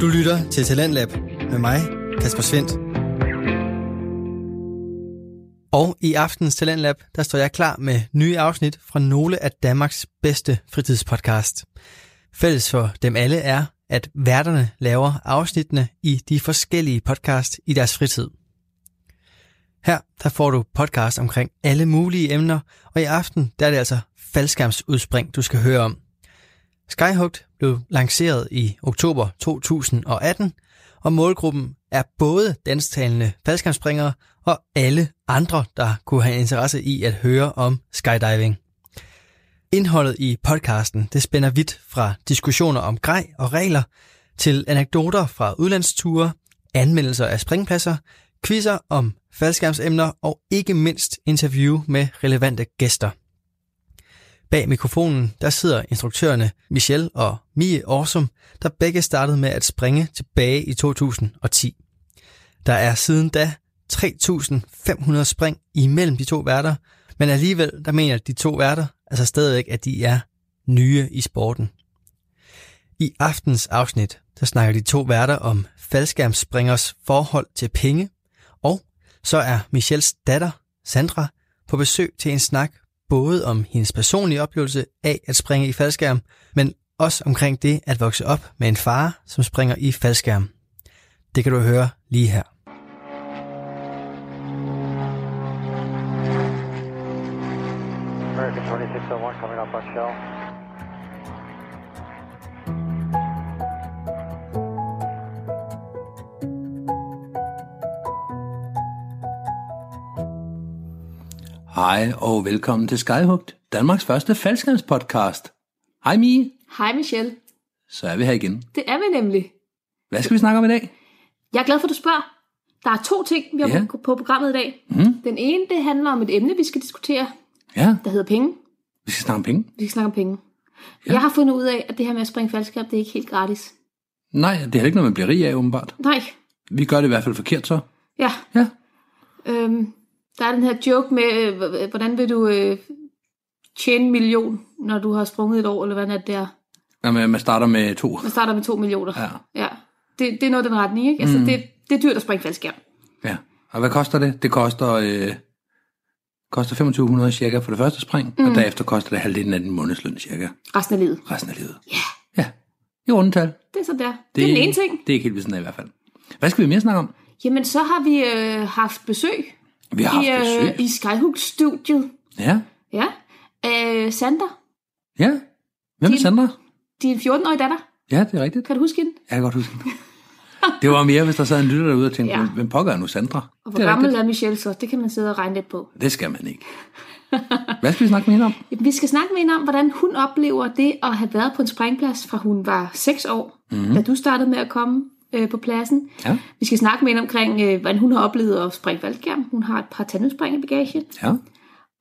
Du lytter til Talentlab med mig, Kasper Svendt. Og i aftens Talentlab, der står jeg klar med nye afsnit fra nogle af Danmarks bedste fritidspodcast. Fælles for dem alle er, at værterne laver afsnittene i de forskellige podcast i deres fritid. Her der får du podcast omkring alle mulige emner, og i aften der er det altså faldskærmsudspring, du skal høre om. Skyhooked blev lanceret i oktober 2018, og målgruppen er både dansktalende faldskærmsspringere og alle andre, der kunne have interesse i at høre om skydiving. Indholdet i podcasten det spænder vidt fra diskussioner om grej og regler til anekdoter fra udlandsture, anmeldelser af springpladser, quizzer om faldskærmsemner og ikke mindst interview med relevante gæster. Bag mikrofonen der sidder instruktørerne Michelle og Mie Årsum, der begge startede med at springe tilbage i 2010. Der er siden da 3.500 spring imellem de to værter, men alligevel der mener de to værter altså stadigvæk, at de er nye i sporten. I aftens afsnit, der snakker de to værter om faldskærmsspringers forhold til penge, og så er Michels datter, Sandra, på besøg til en snak både om hendes personlige oplevelse af at springe i faldskærm, men også omkring det at vokse op med en far, som springer i faldskærm. Det kan du høre lige her. American 2601 coming up on shell. Hej og velkommen til Skyhugt, Danmarks første podcast. Hej Mie, Hej Michelle. så er vi her igen. Det er vi nemlig. Hvad skal vi snakke om i dag? Jeg er glad for, at du spørger. Der er to ting, vi har Ja. på- på programmet i dag. Mm. Den ene, det handler om et emne, vi skal diskutere, Ja, der hedder penge. vi skal snakke om penge. Vi skal snakke om penge. Ja. Jeg har fundet ud af, at det her med at springe faldskab, det er ikke helt gratis. Nej, det er heller ikke noget, man bliver rig af, åbenbart. Nej. Vi gør det i hvert fald forkert så. Ja. Ja, Øhm, der er den her joke med, øh, h- h- hvordan vil du øh, tjene en million, når du har sprunget et år, eller hvordan er det der? Jamen, man starter med to. Man starter med to millioner. Ja. ja. Det, det er noget i den retning, ikke? Altså, mm. det, det er dyrt at springe faldskab. Ja. Og hvad koster det? Det koster, øh, koster 2500 cirka for det første spring, mm. og derefter koster det halvdelen af den månedsløn cirka Resten af livet. resten af livet. Ja. Ja, i rundetal. Det, Det er så der. Det, det er den ene ting. Det er ikke helt vildt sådan i hvert fald. Hvad skal vi mere snakke om? Jamen, så har vi øh, haft besøg, Vi har haft i, øh, besøg. i Skyhook-studiet. Ja, Ja. Øh, Sander, ja. Hvem er Din- Sandra? din 14-årige datter. Ja, det er rigtigt. Kan du huske hende? Jeg kan godt huske det. Det var mere, hvis der sad en lytter derude og tænkte, Ja. ja. hvem pokker er nu Sandra? Og Det hvor er gammel rigtigt. er Michelle så? Det kan man sidde og regne lidt på. Det skal man ikke. Hvad skal vi snakke med hende om? Jamen, vi skal snakke med hende om, hvordan hun oplever det at have været på en springplads, fra hun var 6 år, Mhm. mm-hmm. da du startede med at komme øh, på pladsen. Ja. Vi skal snakke med hende omkring, øh, hvordan hun har oplevet at springe faldskærm. Hun har et par tandemspring i bagagen. Ja,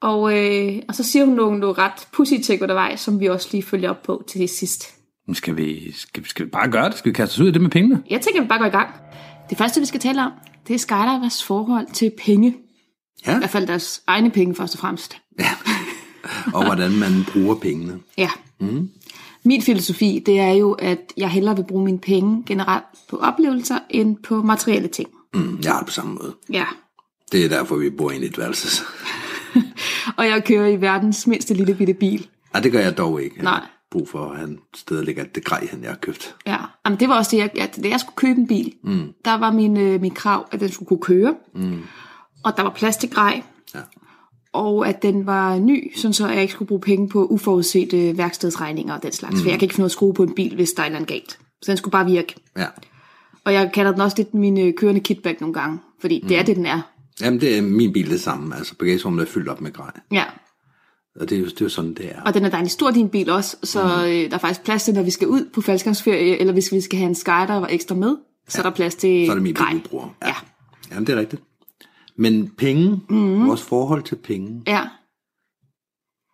Og, øh, og så siger hun nogle, nogle ret pussy ting undervejs, som vi også lige følger op på til sidst. Men skal vi, skal, vi- skal vi bare gøre det? Skal vi kaste os ud i det med pengene? Jeg tænker, at vi bare går i gang. Det første, vi skal tale om, det er skydivers forhold til penge. Ja. I hvert fald deres egne penge, først og fremmest. Og hvordan man bruger pengene. Ja. Mm. Min filosofi, det er jo, at jeg hellere vil bruge mine penge generelt på oplevelser, end på materielle ting. Mm, jeg har det på samme måde. Ja. Det er derfor, vi bor inde i et værelse. Og jeg kører i verdens mindste lille bitte bil. Nej, det gør jeg dog ikke. Jeg har Nej. brug for, at han stadig ligger det grej, han jeg har købt. Ja. Jamen, det var også det, jeg, at da jeg skulle købe en bil, mm. der var min, øh, min krav, at den skulle kunne køre. Mm. Og der var plads til grej. Ja. og at den var ny, sådan så jeg ikke skulle bruge penge på uforudsete værkstedsregninger og den slags. Mm. For jeg kan ikke finde ud af at skrue på en bil, hvis der er et eller andet galt. Så den skulle bare virke. ja. Og jeg kalder den også lidt min øh, kørende kitback nogle gange, fordi mm. det er det, den er. Jamen, det er min bil det samme. Altså, bagagerummet er fyldt op med grej. Ja. Og det er jo, det er jo sådan, det er. Og den er dejlig stor, din bil også, så Mm. øh, der er faktisk plads til, når vi skal ud på faldskabsferie, eller hvis vi skal have en skyder ekstra med, så er der plads til Så er det min grej. bil, vi bruger. Ja. ja. Jamen, det er rigtigt. Men penge, mm. vores forhold til penge. Ja.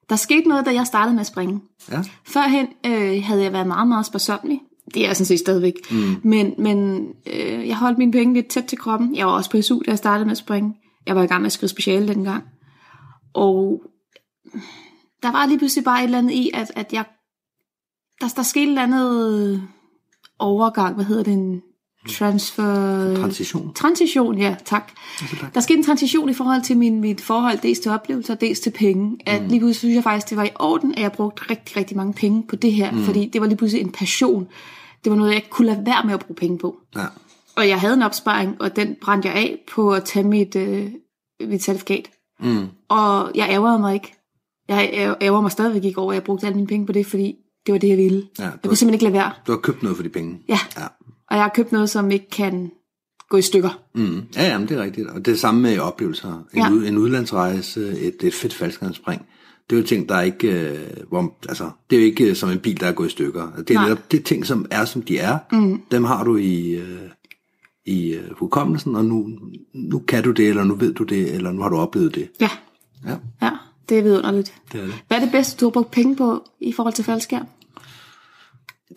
Der skete noget, da jeg startede med at springe. Ja. Førhen øh, havde jeg været meget, meget sparsomlig. Det er jeg sådan set stadigvæk. Mm. Men, men øh, jeg holdt mine penge lidt tæt til kroppen. Jeg var også på SU, da jeg startede med at springe. Jeg var i gang med at skrive speciale dengang. Og der var lige pludselig bare et eller andet i, at, at jeg... Der, der skete et eller andet overgang, hvad hedder den? Transfer... Transition. Transition, ja, tak. Der skete en transition i forhold til min, mit forhold, dels til oplevelser, dels til penge. Mm. At lige pludselig synes jeg faktisk, det var i orden, at jeg brugte rigtig, rigtig mange penge på det her, mm. fordi det var lige pludselig en passion. Det var noget, jeg ikke kunne lade være med at bruge penge på. Ja. Og jeg havde en opsparing, og den brændte jeg af på at tage mit, øh, mit certifikat. Mm. Og jeg ærgerede mig ikke. Jeg ær- ærger mig stadigvæk ikke over, at jeg brugte alle mine penge på det, fordi det var det, jeg ville. Ja, jeg det var- kunne simpelthen ikke lade være. Du har købt noget for de penge. Ja. Ja. Og jeg har købt noget, som ikke kan gå i stykker. Mm. Ja, jamen, det er rigtigt. Og det er det samme med oplevelser. En, Ja. ja. ud, en udlandsrejse, et, et fedt faldskærmspring. Det er jo ting, der er ikke... Øh, hvor, altså, det er jo ikke øh, som en bil, der er gået i stykker. Det er, Nej. netop, det er ting, som er, som de er. Mm. Dem har du i, øh, i øh, hukommelsen, og nu, nu kan du det, eller nu ved du det, eller nu har du oplevet det. Ja, Ja, ja det er vidunderligt. det er det. Hvad er det bedste, du har brugt penge på i forhold til faldskærm?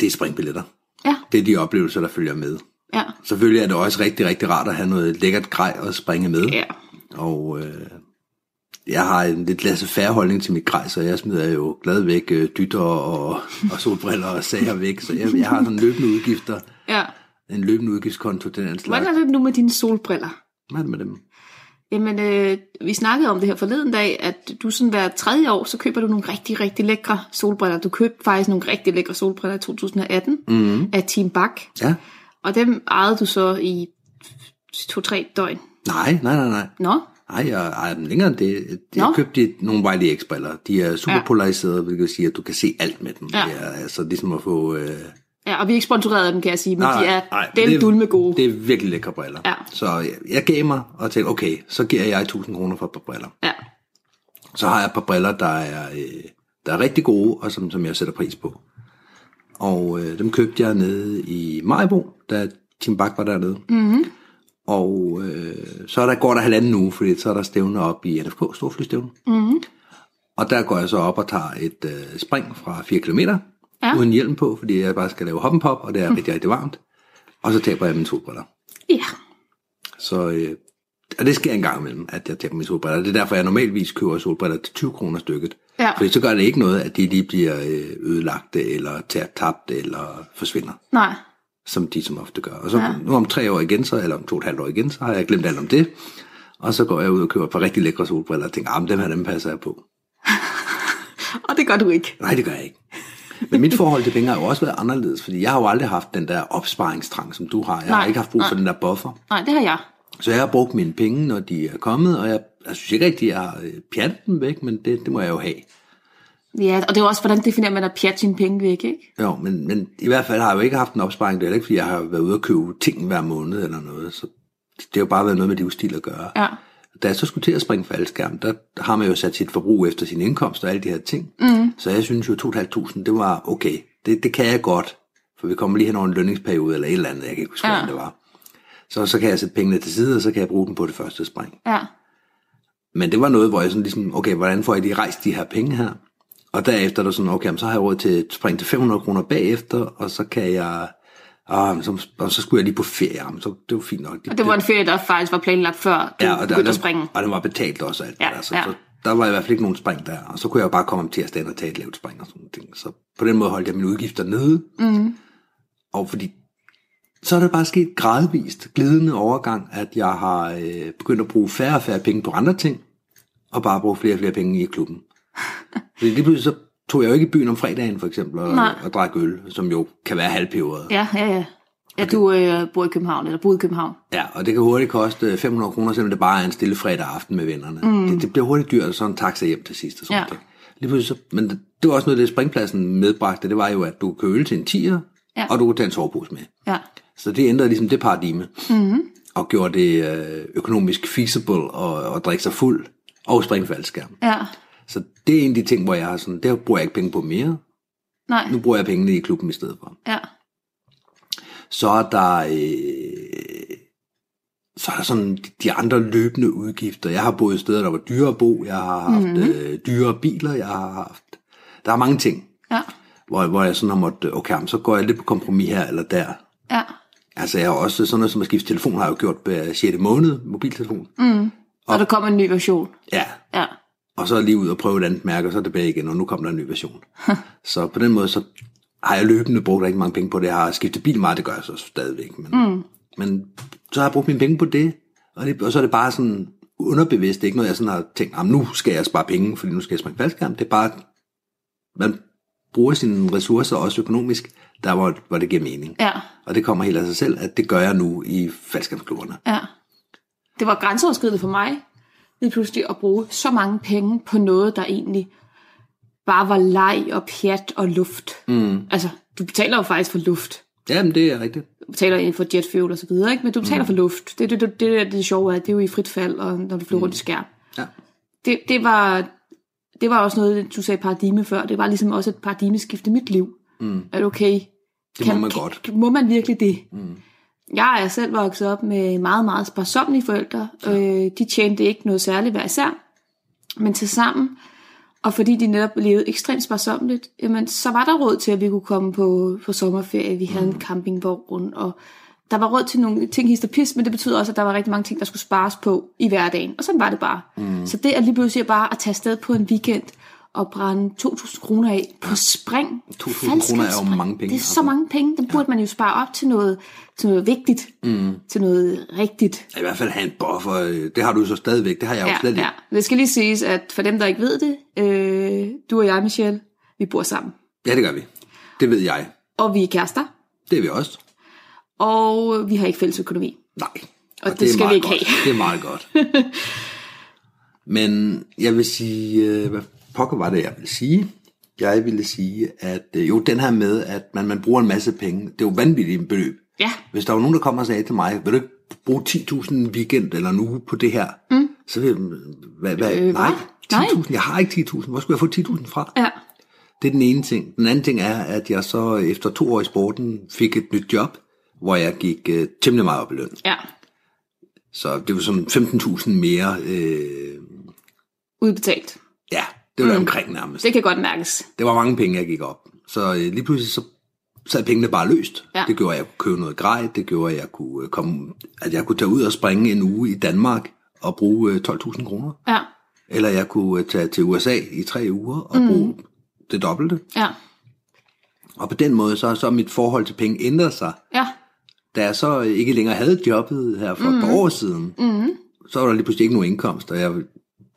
Det er springbilletter. Ja, Det er de oplevelser, der følger med. ja, Selvfølgelig er det også rigtig, rigtig rart at have noget lækkert grej at springe med. ja. Og øh, jeg har en lidt lasse færre holdning til mit grej, så jeg smider jo glad væk øh, dytter og, og solbriller og sager væk. Så jeg, jeg har sådan løbende udgifter, ja. en løbende udgiftskonto til den slags. Hvordan er det nu med dine solbriller? Hvad er det med dem? Jamen, øh, vi snakkede om det her forleden dag, at du sådan hver tredje år, så køber du nogle rigtig, rigtig lækre solbriller. Du købte faktisk nogle rigtig lækre solbriller i 2018 mm. af Team Bak. Mm-hmm. Ja. Og dem ejede du så i to-tre døgn. Nej, nej, nej, nej. Nå, Nej, jeg ejer dem længere end det. Nå. Jeg købte nogle Wiley X-briller. De er super Ja. ja. polariserede, hvilket siger, at du kan se alt med dem. Ja. Det er altså ligesom at få... Øh, ja, og vi er ikke sponsoreret af dem, kan jeg sige, men Nej, de er nej, nej, men den det- dulme gode. det er virkelig lækre briller. Ja. Så jeg, jeg gav mig og tænkte, okay, så giver jeg 1000 kroner for et par briller. Ja, så har jeg et par briller, der er, øh, der er rigtig gode, og som, som jeg sætter pris på. Og øh, dem købte jeg nede i Majbo, da Tim Bak var dernede. Mm-hmm. Og øh, så er der, går der halvanden uge, fordi så er der stævne op i NFK, Storflystævne. Mm-hmm. Og der går jeg så op og tager et øh, spring fra 4 km, Ja. ja. uden hjelm på, fordi jeg bare skal lave hoppen pop, og det er mm. rigtig, rigtig varmt. Og så taber jeg mine solbriller. ja, Så, øh, og det sker en gang imellem, at jeg tager mine solbriller. Det er derfor, jeg normalvis køber solbriller til 20 kroner stykket. Ja. Fordi så gør det ikke noget, at de lige bliver øh, ødelagte, eller tager tabt, eller forsvinder, nej. som de som ofte gør. Og så Ja. ja. nu om tre år igen, så, eller om to og et halvt år igen, så har jeg glemt alt om det. Og så går jeg ud og køber et par rigtig lækre solbriller, og tænker, ah, men dem her, dem passer jeg på. Og det gør du ikke. Nej, det gør jeg ikke. Men mit forhold til penge har jo også været anderledes, fordi jeg har jo aldrig haft den der opsparingstrang, som du har. Jeg Nej, har ikke haft brug for nej. den der buffer. Nej, det har jeg. Så jeg har brugt mine penge, når de er kommet, og jeg, jeg synes ikke rigtig, jeg har øh, pjattet dem væk, men det, det må jeg jo have. Ja, og det er jo også, hvordan definerer man at pjatte sine penge væk, ikke? Jo, men, men i hvert fald har jeg jo ikke haft en opsparing, det er heller ikke, fordi jeg har været ude og købe ting hver måned eller noget, så det har jo bare været noget med livsstil at gøre. Ja. Da jeg så skulle til at springe faldskærm, der har man jo sat sit forbrug efter sin indkomst og alle de her ting. Mm. Så jeg synes jo, 2.500, det var okay. Det, det kan jeg godt, for vi kommer lige hen over en lønningsperiode eller et eller andet, jeg kan ikke huske, Ja. ja. det var. Så, så kan jeg sætte pengene til side, og så kan jeg bruge dem på det første spring. Ja, Men det var noget, hvor jeg sådan ligesom, okay, hvordan får jeg lige rejst de her penge her? Og derefter er der sådan, okay, jamen, så har jeg råd til at springe til 500 kroner bagefter, og så kan jeg, ah, men så, og så skulle jeg lige på ferie, jamen, så det var fint nok. og det var en ferie, der faktisk var planlagt før du ja, begyndte at springe. Og den var betalt også, og alt Ja, ja, der, så, ja. ja. så, der var i hvert fald ikke nogen spring der, og så kunne jeg jo bare komme om tirsdagen og tage et lavt spring og sådan nogle ting. Så på den måde holdt jeg mine udgifter nede, mm. og fordi så er det bare sket gradvist, glidende overgang, at jeg har øh, begyndt at bruge færre og færre penge på andre ting, og bare bruge flere og flere penge i klubben. Fordi lige pludselig så tog jeg jo ikke i byen om fredagen for eksempel og, Nej. og drak øl, som jo kan være halvpeberet. Ja, ja, ja. Ja, du øh, bor i København, eller boede i København. Ja, og det kan hurtigt koste 500 kroner, selvom det bare er en stille fredag aften med vennerne. Mm. Det, det bliver hurtigt dyrt, og så en taxa hjem til sidst og sådan Ja. ja. ting. Lige pludselig så, men det, det var også noget, det springpladsen medbragte, det var jo, at du kan øl til en tiger, Ja. ja. og du kan tage en sovepose med. Ja, Så det ændrede ligesom det paradigme, mm. og gjorde det øh, økonomisk feasible at, at drikke sig fuld og springe faldskærm. ja. Så det er en af de ting, hvor jeg har sådan, der bruger jeg ikke penge på mere, Nej, nu bruger jeg pengene i klubben i stedet for. ja. så er der øh, så er der sådan de- de andre løbende udgifter. Jeg har boet steder, der var dyre at bo. Jeg har haft mm. øh, dyre biler. Jeg har haft... Der er mange ting, Ja, hvor, hvor jeg sådan har måttet... Okay, jamen, så går jeg lidt på kompromis her eller der. ja. Altså, jeg har også sådan noget som at skifte telefon, har jeg jo gjort hver 6. måned, mobiltelefon. Mm. Og der kommer en ny version. Ja, Ja, og så lige ud og prøve et andet mærke, og så tilbage igen, og nu kom der en ny version. så på den måde, så har jeg løbende brugt rigtig mange penge på det. Jeg har skiftet bil meget, det gør jeg så stadigvæk. Men, mm. men så har jeg brugt mine penge på det, og, det, og så er det bare sådan underbevidst. Det er ikke noget, jeg sådan har tænkt, "Jamen, nu skal jeg spare penge, fordi nu skal jeg springe faldskærm. Det er bare, man bruger sine ressourcer også økonomisk, der hvor, hvor det giver mening. Ja, Og det kommer helt af sig selv, at det gør jeg nu i faldskærmsklubberne. ja. Det var grænseoverskridende for mig, lige pludselig at bruge så mange penge på noget, der egentlig bare var leg og pjat og luft. Mm. Altså, du betaler jo faktisk for luft. Jamen, det er rigtigt. du betaler egentlig for jetfuel og så videre, ikke? men du betaler mm. for luft. Det, det, det, det, er det sjove er, det er jo i frit fald, og når du flyver mm. rundt i skærm. Ja. Det, det, var, det var også noget, du sagde paradigme før, det var ligesom også et paradigmeskift i mit liv. Mm. At okay, Det må man godt. Kan, må man virkelig det? Mm. Jeg er selv vokset op med meget, meget sparsomlige forældre. Ja. Øh, de tjente ikke noget særligt hver især, men til sammen, og fordi de netop levede ekstremt sparsomligt, jamen, så var der råd til, at vi kunne komme på, på sommerferie. Vi Mm. havde en campingvogn, og der var råd til nogle ting hist og pis, men det betød også, at der var rigtig mange ting, der skulle spares på i hverdagen. Og sådan var det bare. Mm. Så det at lige pludselig bare at tage afsted på en weekend og brænde 2.000 kroner af på spring. 2.000 kroner er jo Falsk- mange penge, Det er altså. så mange penge. Dem burde man jo spare op til noget, til noget vigtigt. Mm. Til noget rigtigt. I hvert fald have en buffer. øh, Det har du jo så stadigvæk. Det har jeg jo slet Ja, ikke. ja. Det skal lige siges, at for dem, der ikke ved det, øh, du og jeg, Michelle, vi bor sammen. Ja, det gør vi. Det ved jeg. Og vi er kærester, Det er vi også. og vi har ikke fælles økonomi. Nej. Og det skal er vi meget ikke godt. have. Det er meget godt. Men jeg vil sige, øh, hvad pokker var det, jeg ville sige? Jeg ville sige, at øh, jo, den her med, at man, man bruger en masse penge, det er jo vanvittigt beløb. Ja. Hvis der var nogen, der kom og sagde til mig, vil du ikke bruge 10.000 en weekend eller en uge på det her? Mm. Så vil jeg, hvad, hvad, øh, nej, Nej. 10.000, jeg har ikke 10.000, hvor skulle jeg få 10.000 fra? Ja, Det er den ene ting. Den anden ting er, at jeg så efter to år i sporten fik et nyt job, hvor jeg gik øh, temmelig meget op i løn. ja. Så det var sådan 15.000 mere. Øh, Udbetalt. ja, det var mm. omkring nærmest. Det kan godt mærkes. Det var mange penge, jeg gik op. Så øh, lige pludselig så sad pengene bare løst. Ja. Det gjorde, at jeg kunne købe noget grej. Det gjorde, at jeg kunne, øh, komme, at jeg kunne tage ud og springe en uge i Danmark og bruge øh, 12.000 kroner. Ja, Eller jeg kunne øh, tage til USA i tre uger og mm. bruge det dobbelte. ja, Og på den måde så har så mit forhold til penge ændret sig. ja, da jeg så ikke længere havde jobbet her for mm. et Mhm. par år siden, mm. så var der lige pludselig ikke nogen indkomst, og jeg,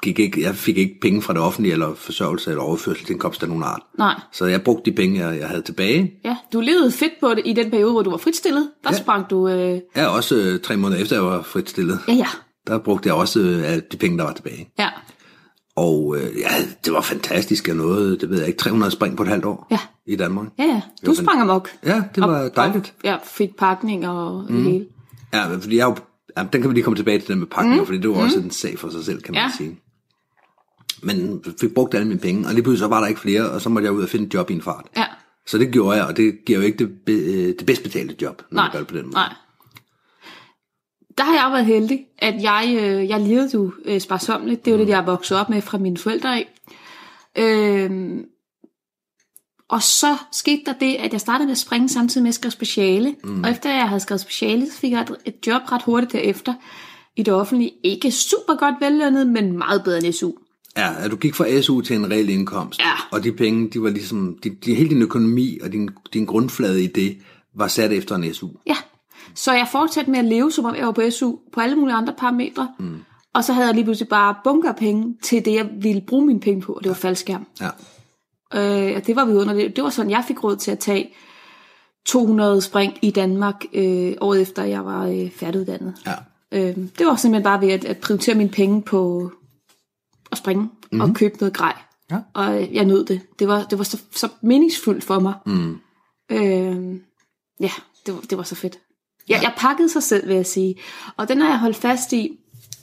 gik ikke, jeg fik ikke penge fra det offentlige, eller forsørgelse, eller overførselsindkomst af nogen art. nej. Så jeg brugte de penge, jeg, jeg havde tilbage. Ja, du levede fedt på det i den periode, hvor du var fritstillet. Der ja. sprang du... Øh... Jeg også øh, tre måneder efter, jeg var fritstillet, Ja, ja, der brugte jeg også øh, al- de penge, der var tilbage. ja, Og øh, ja, det var fantastisk, jeg nåede, det ved jeg ikke, 300 spring på et halvt år Ja. i Danmark. ja, ja. Du Jo, men- sprang amok. Ja, det var Og- dejligt. Og, ja, fik pakning og mm. det hele. Ja, fordi jeg er jo, ja, den kan vi lige komme tilbage til den med pakken, mm. fordi det var også en sag for sig selv, kan man Ja. sige. Men fik brugt alle mine penge, og lige pludselig så var der ikke flere, og så måtte jeg ud og finde et job i en fart. Ja, Så det gjorde jeg, og det giver jo ikke det, be, øh, det bedst betalte job, når nej, man gør det på den måde. nej. Der har jeg været heldig, at jeg, øh, jeg levede jo øh, sparsomligt. Det er jo mm. det, jeg er vokset op med fra mine forældre af. Øhm, og så skete der det, at jeg startede med at springe samtidig med at skrive speciale. Mm. Og efter jeg havde skrevet speciale, så fik jeg et, et job ret hurtigt derefter i det offentlige. Ikke super godt vellønnet, men meget bedre end SU. Ja, at du gik fra SU til en reel indkomst, Ja. og de penge, de var ligesom, de, de, hele din økonomi og din, din grundflade i det, var sat efter en SU. Ja. Så jeg fortsatte med at leve, som om jeg var på SU, på alle mulige andre parametre. Mm. Og så havde jeg lige pludselig bare bunker af penge til det, jeg ville bruge mine penge på, og det var faldskærm. Ja, Øh, og det var vidunderligt. Det var sådan, jeg fik råd til at tage 200 spring i Danmark øh, året efter, jeg var øh, færdiguddannet. ja. Øh, det var simpelthen bare ved at, at prioritere mine penge på at springe mm-hmm. og købe noget grej. Mhm. Ja. Og øh, jeg nød det. Det var, det var så, så meningsfuldt for mig. Mm. Øh, ja, det var, det var så fedt. Jeg, jeg pakkede sig selv, vil jeg sige. Og den har jeg holdt fast i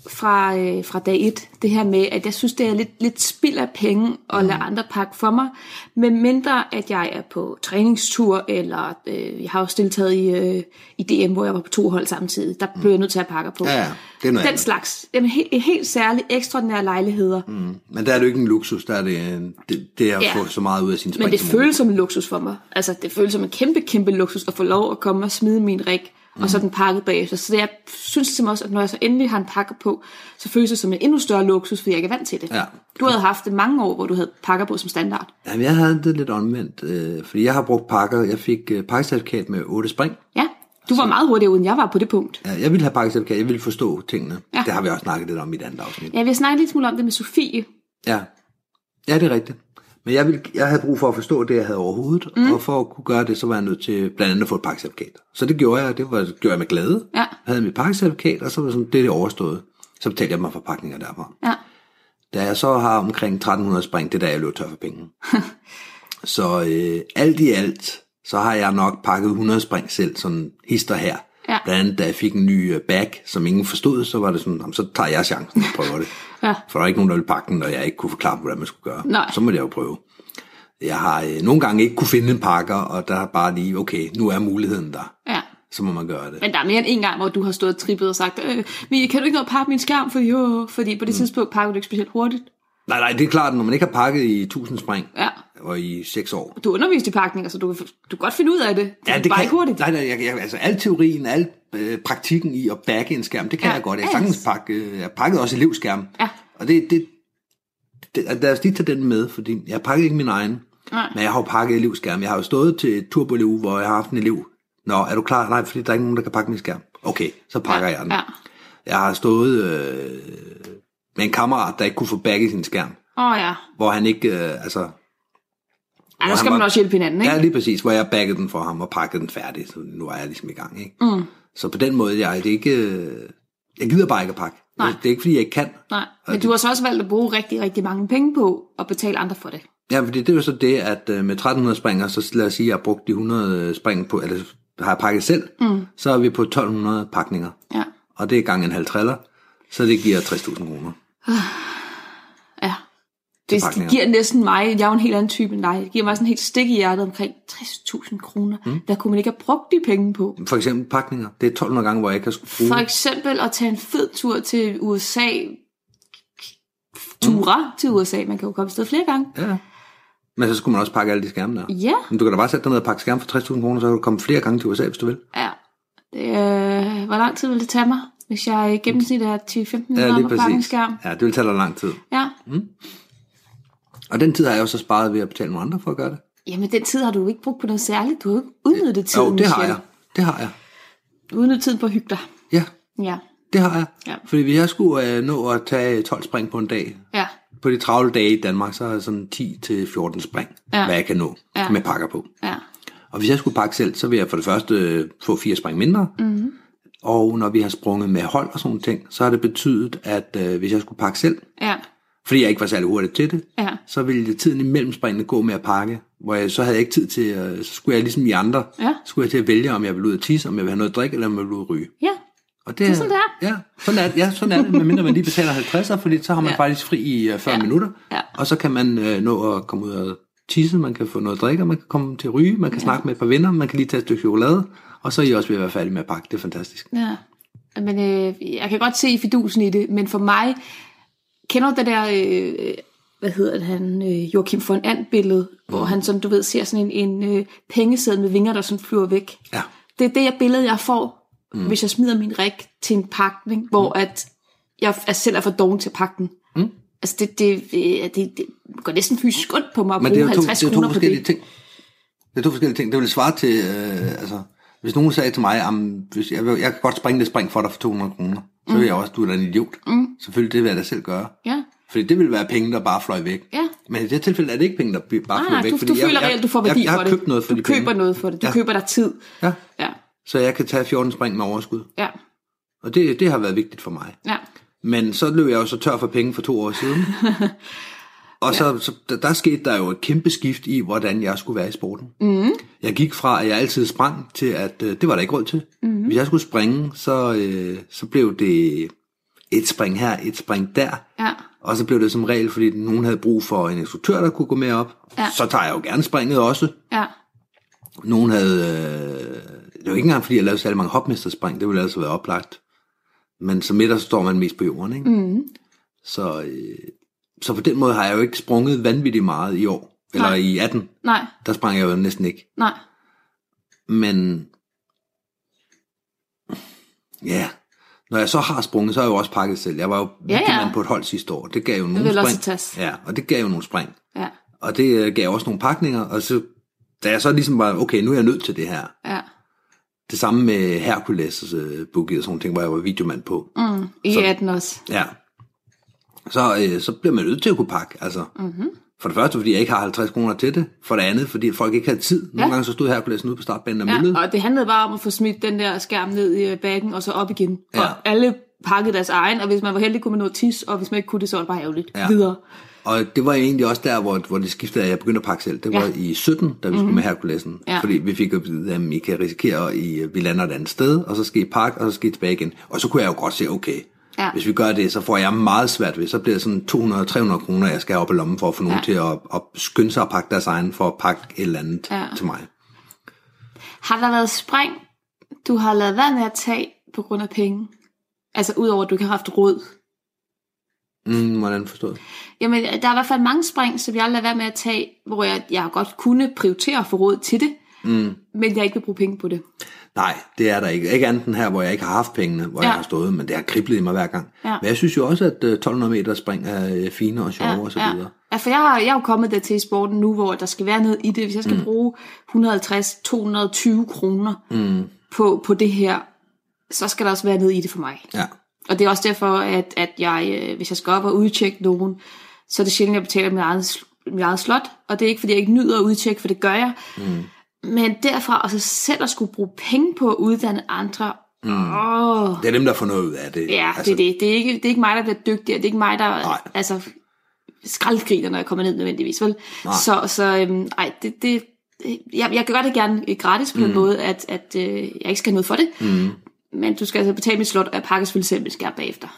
fra, øh, fra dag et. Det her med, at jeg synes, det er lidt, lidt spild af penge at lade Mm. andre pakke for mig. Men mindre, at jeg er på træningstur, eller øh, jeg har også deltaget i, øh, i DM, hvor jeg var på to hold samtidig. Der blev jeg nødt til at pakke på. Mm. Ja, ja, det er noget Den andet. slags. Jamen, helt, helt særlige, ekstraordinære lejligheder. Mm. Men der er det jo ikke en luksus, der er det, en- det, det er at Ja. få så meget ud af sin spring Men det som muligt. føles som en luksus for mig. Altså, det føles som en kæmpe, kæmpe luksus at få lov at komme og smide min rig og så er den pakket bagefter. Så jeg synes simpelthen også, at når jeg så endelig har en pakker på, så føles det som en endnu større luksus, fordi jeg ikke er vant til det. Ja. Du havde haft det mange år, hvor du havde pakker på som standard. Jamen, jeg havde det lidt omvendt, øh, fordi jeg har brugt pakker. Jeg fik øh, pakkecertifikat med 8 spring. Ja, du var meget hurtigere, end jeg var på det punkt. Ja, jeg ville have pakkecertifikat, jeg ville forstå tingene. Ja. Ja. Det har vi også snakket lidt om i et andet afsnit. Ja, vi har snakket lidt smule om det med Sofie. Ja, ja det er rigtigt. Men jeg, ville, jeg havde brug for at forstå det, jeg havde overhovedet, mm. og for at kunne gøre det, så var jeg nødt til blandt andet at få et pakkecertifikat. Så det gjorde jeg, det var, gjorde jeg med glæde. Ja. Havde mit pakkecertifikat, og så var det sådan, det er det overstået. Så betalte jeg mig for pakninger derfra. Ja. Da jeg så har omkring 1300 spring, det er der, jeg løb tør for penge. så øh, alt i alt, så har jeg nok pakket 100 spring selv, sådan hister her. Ja. Blandt andet, da jeg fik en ny øh, bag, som ingen forstod, så var det sådan, "Jamen, så tager jeg chancen og prøver det. Ja. For der var ikke nogen, der ville pakke den, og jeg ikke kunne forklare, hvordan man skulle gøre. Nej. Så måtte jeg jo prøve. Jeg har øh, nogle gange ikke kunne finde en pakker, og der er bare lige, okay, nu er muligheden der. Ja. Så må man gøre det. Men der er mere end en gang, hvor du har stået og trippet og sagt, øh, Mie, kan du ikke nå at pakke min skærm? Fordi, jo, fordi på det mm. tidspunkt pakker du ikke specielt hurtigt. Nej, nej, det er klart, når man ikke har pakket i 1000 spring, Ja. og i 6 år. Du underviste i pakninger, så du, kan- du kan godt finde ud af det. Det er bare ikke hurtigt. Nej, nej, jeg, jeg, altså al teorien, al øh, praktikken i at bagge en skærm, det kan Ja, jeg godt. Jeg alt. har sagtens pakke, øh, jeg pakkede også elevskærm. Ja. Og det, det, det, altså, lad os lige tage den med, fordi jeg pakkede ikke min egen. Nej. Men jeg har jo pakket elevskærm. Jeg har jo stået til et turboleu, hvor jeg har haft en elev. Nå, er du klar? Nej, fordi der er ikke nogen, der kan pakke min skærm. Okay, så pakker ja. jeg den. Ja. Jeg har stået øh, med en kammerat, der ikke kunne få bagget sin skærm. Åh oh, ja. Hvor han ikke, øh, altså, Ej, der han skal man var- også hjælpe hinanden, ikke? Ja, lige præcis, hvor jeg baggede den for ham og pakkede den færdig, så nu er jeg ligesom i gang, ikke? Mm. Så på den måde, jeg, det er ikke, øh, jeg gider bare ikke at pakke. Nej. Det er ikke, fordi jeg ikke kan. Nej. Men du har så også valgt at bruge rigtig, rigtig mange penge på at betale andre for det. Ja, fordi det er jo så det, at øh, med 1300 springer, så lad os sige, at jeg har brugt de 100 spring på, eller har jeg pakket selv, mm. så er vi på 1200 pakninger. Ja. Og det er gange en halv triller, så det giver 60.000 kroner. Ja. Det, det pakninger. giver næsten mig, jeg er jo en helt anden type end dig, det giver mig sådan helt stik i hjertet omkring 60.000 kroner. Mm. Hvad kunne man ikke have brugt de penge på? For eksempel pakninger, det er 1200 gange, hvor jeg ikke har skulle For bruge. eksempel at tage en fed tur til USA, ture mm. til USA, man kan jo komme afsted flere gange. Ja. Men så skulle man også pakke alle de skærme der. Ja, Men du kan da bare sætte dig ned og pakke skærme for 60.000 kroner, så kan du komme flere gange til USA, hvis du vil. ja. Det, øh, hvor lang tid vil det tage mig, hvis jeg i gennemsnit er 10-15 minutter Ja, om lige at pakke en præcis. Mm. skærm? Ja, det vil tage dig lang tid. Ja. Og den tid har jeg jo så sparet ved at betale nogle andre for at gøre det. Jamen, den tid har du jo ikke brugt på noget særligt. Du har jo ikke udnyttet tiden, jo, det har Michelle. jeg. Det har jeg. Du har udnyttet tiden på at hygge dig. Ja, Ja, det har jeg. Ja. Fordi hvis jeg skulle øh, nå at tage 12 spring på en dag, ja, på de travle dage i Danmark, så er jeg sådan 10-14 spring, Ja. hvad jeg kan nå Ja. med pakker på. ja. Og hvis jeg skulle pakke selv, så vil jeg for det første øh, få fire spring mindre. Mm-hmm. Mhm. Og når vi har sprunget med hold og sådan nogle ting, så har det betydet, at øh, hvis jeg skulle pakke selv, Ja, fordi jeg ikke var særlig hurtig til det, Ja. så ville tiden imellem springene gå med at pakke, hvor jeg, så havde jeg ikke tid til, at, så skulle jeg ligesom i andre, Ja. så skulle jeg til at vælge, om jeg ville ud og tisse, om jeg ville have noget at drikke, eller om jeg ville ud og ryge. ja. Og det, er sådan, det er. Ja, sådan er, ja, sådan er det, medmindre man lige betaler 50'er, fordi så har man Ja. ja. faktisk fri i øh, 40 Ja. minutter, Ja. og så kan man øh, nå at komme ud og tisse, man kan få noget at drikke, og man kan komme til at ryge, man kan ja. snakke med et par venner, man kan lige tage et stykke chokolade, og så er I også ved at være færdige med at pakke. Det er fantastisk. Ja. Men øh, jeg kan godt se fidusen i det, men for mig, kender du det der, øh, hvad hedder det, han, øh, Joachim von And billede, Mm. hvor han, som du ved, ser sådan en, en øh, pengeseddel med vinger, der sådan flyver væk. Ja. Det er det jeg billede, jeg får, mm. hvis jeg smider min rik til en pakning, hvor Mm. at jeg f- altså selv er for doven til at pakke den. Mm. Altså det, det, øh, det, det går næsten fysisk ondt på mig at Men det er bruge jo to, 50 det er to kroner på forskellige det. ting. Det er to forskellige ting. Det ville svare til, øh, altså, hvis nogen sagde til mig, "Jamen, hvis jeg, vil- jeg kan godt springe det spring for dig for 200 kroner, så vil jeg også, du er da en idiot. Mm. Selvfølgelig, det vil jeg da selv gøre. Ja. Fordi det ville være penge, der bare fløj væk. Ja. Men i det tilfælde er det ikke penge, der bi- bare Nej, fløj nej, væk. Ah, du, du jeg, føler jeg, reelt, du får værdi jeg, jeg for har det. købt noget for du de køber penge. noget for det. Du Ja. køber dig tid. Ja, Ja, så jeg kan tage 14 spring med overskud. ja, Og det, det har været vigtigt for mig. ja. Men så løb jeg jo så tør for penge for to år siden. Og så, så der, der skete der jo et kæmpe skift i, hvordan jeg skulle være i sporten. Mm. Jeg gik fra, at jeg altid sprang, til at øh, det var der ikke råd til. Mm. Hvis jeg skulle springe, så, øh, så blev det et spring her, et spring der. Ja. Og så blev det som regel, fordi nogen havde brug for en instruktør, der kunne gå med op. Ja. Så tager jeg jo gerne springet også. ja. Nogen havde... Øh, det var ikke engang, fordi jeg lavede særlig mange hopmesterspring. Det ville altså være oplagt. Men som midter så står man mest på jorden, ikke? Mm. Så, øh, så på den måde har jeg jo ikke sprunget vanvittigt meget i år. Eller Nej. Nej. i 18. Nej, Der sprang jeg jo næsten ikke. nej. Men ja, når jeg så har sprunget, så har jeg jo også pakket selv. Jeg var jo ja, ja. ja. på et hold sidste år. Det gav jo vil nogle også spring. tages. Ja, og det gav jo nogle spring. Ja, Og det øh, gav også nogle pakninger, og så, da jeg så ligesom var, okay, nu er jeg nødt til det her. ja. Det samme med Hercules' øh, boogie og sådan nogle ting, hvor jeg var videomand på. Mm. Mm. I Så- 18 også. Ja. Så, øh, så bliver man nødt til at kunne pakke, altså. Mhm. Mm-hmm. For det første, fordi jeg ikke har 50 kroner til det. For det andet, fordi folk ikke havde tid. Nogle Ja. ja. gange så stod Herculesen ude på startbanen og myldede. Ja, og det handlede bare om at få smidt den der skærm ned i øh, bakken, og så op igen. Ja. Og Ja. alle pakkede deres egen, og hvis man var heldig, kunne man nå tis, og hvis man ikke kunne det, så var det bare ærgerligt. Ja. Ja. Videre. Og det var egentlig også der, hvor, hvor det skiftede, at jeg begyndte at pakke selv. Det var Ja. Mhm. ja. i 17, da vi mm-hmm. skulle med Herkulesen. Ja. Ja. Fordi vi fik at vide, at I kan risikere, at I, vi lander et andet sted, og så skal I pakke, og så skal I tilbage igen. Og så kunne jeg jo godt se, okay, Ja. ja. hvis vi gør det, så får jeg meget svært ved. Så bliver det sådan 200-300 kroner, jeg skal have op i lommen for at få nogen Ja. til at, at skynde sig at pakke deres egen, for at pakke et eller andet Ja. ja. til mig. Har der været spring, du har lavet være med at tage på grund af penge? Altså udover, at du ikke har haft råd. Mm, hvordan forstået? Jamen, der er i hvert fald mange spring, som jeg lader være med at tage, hvor jeg, jeg godt kunne prioritere at få råd til det, mm. men jeg ikke vil bruge penge på det. Nej, det er der ikke. Ikke andet end her, hvor jeg ikke har haft pengene, hvor Ja. ja. jeg har stået, men det har kriblet i mig hver gang. Ja. Men jeg synes jo også, at øh, 1200 meter spring er øh, fine og sjove ja. og så videre. Ja, for jeg, har, jeg er jo kommet der til i sporten nu, hvor der skal være noget i det. Hvis jeg skal mm. bruge 150-220 kroner mm. på, på det her, så skal der også være noget i det for mig. Ja. Og det er også derfor, at, at jeg, øh, hvis jeg skal op og udtjekke nogen, så er det sjældent, at jeg betaler mit eget, sl- mit eget slot. Og det er ikke, fordi jeg ikke nyder at udtjekke, for det gør jeg. Mm. Men derfra, og så selv at skulle bruge penge på at uddanne andre, mm. åh, Det er dem, der får noget ud af det. Ja, altså, det er det. Det er, ikke, det er ikke mig, der bliver dygtig, og det er ikke mig, der Nej. altså, skraldgriner, når jeg kommer ned nødvendigvis. Vel? Nej. Så, så øhm, ej, det, det, jeg, jeg gør det gerne øh, gratis på mm. den måde, at, at øh, jeg ikke skal have noget for det. Mm. Men du skal altså betale mit slot, og jeg pakker selvfølgelig selv mit skærm bagefter.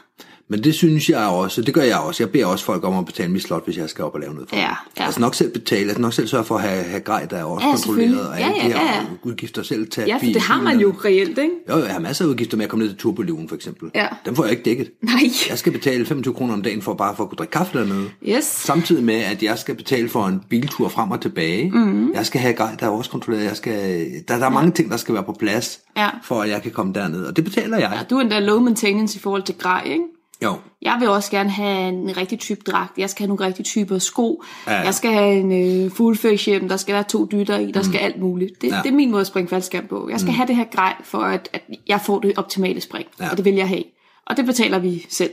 Men det synes jeg også, det gør jeg også. Jeg beder også folk om at betale mit slot, hvis jeg skal op og lave noget for Ja, dem. ja. Altså nok selv betale, altså nok selv sørge for at have, have grej, der er også Ja, selvfølgelig. kontrolleret, og Ja, alle ja, de her ja, ja. udgifter selv tage. Ja, for det har man jo reelt, ikke? Jo, jeg har masser af udgifter med at komme ned til Turboliven for eksempel. Ja. Dem får jeg ikke dækket. Nej. Jeg skal betale 25 kroner om dagen for bare for at kunne drikke kaffe dernede. Yes. Samtidig med, at jeg skal betale for en biltur frem og tilbage. Mhm. Mm. Jeg skal have grej, der er også kontrolleret. Jeg skal, der, der er mange ting, der skal være på plads, Ja. for at jeg kan komme derned. Og det betaler jeg. Du er endda low maintenance i forhold til grej, ikke? Jo, Jeg vil også gerne have en rigtig type dragt. Jeg skal have nogle rigtige typer sko. Ja. Ja. Jeg skal have en øh, fuldfish hjem. Der skal være to dytter i. Der skal alt muligt. Det, ja. Ja. det er min måde at springe faldskærm på. Jeg skal mm. have det her grej, for at, at jeg får det optimale spring. Ja. Ja. Og det vil jeg have. Og det betaler vi selv.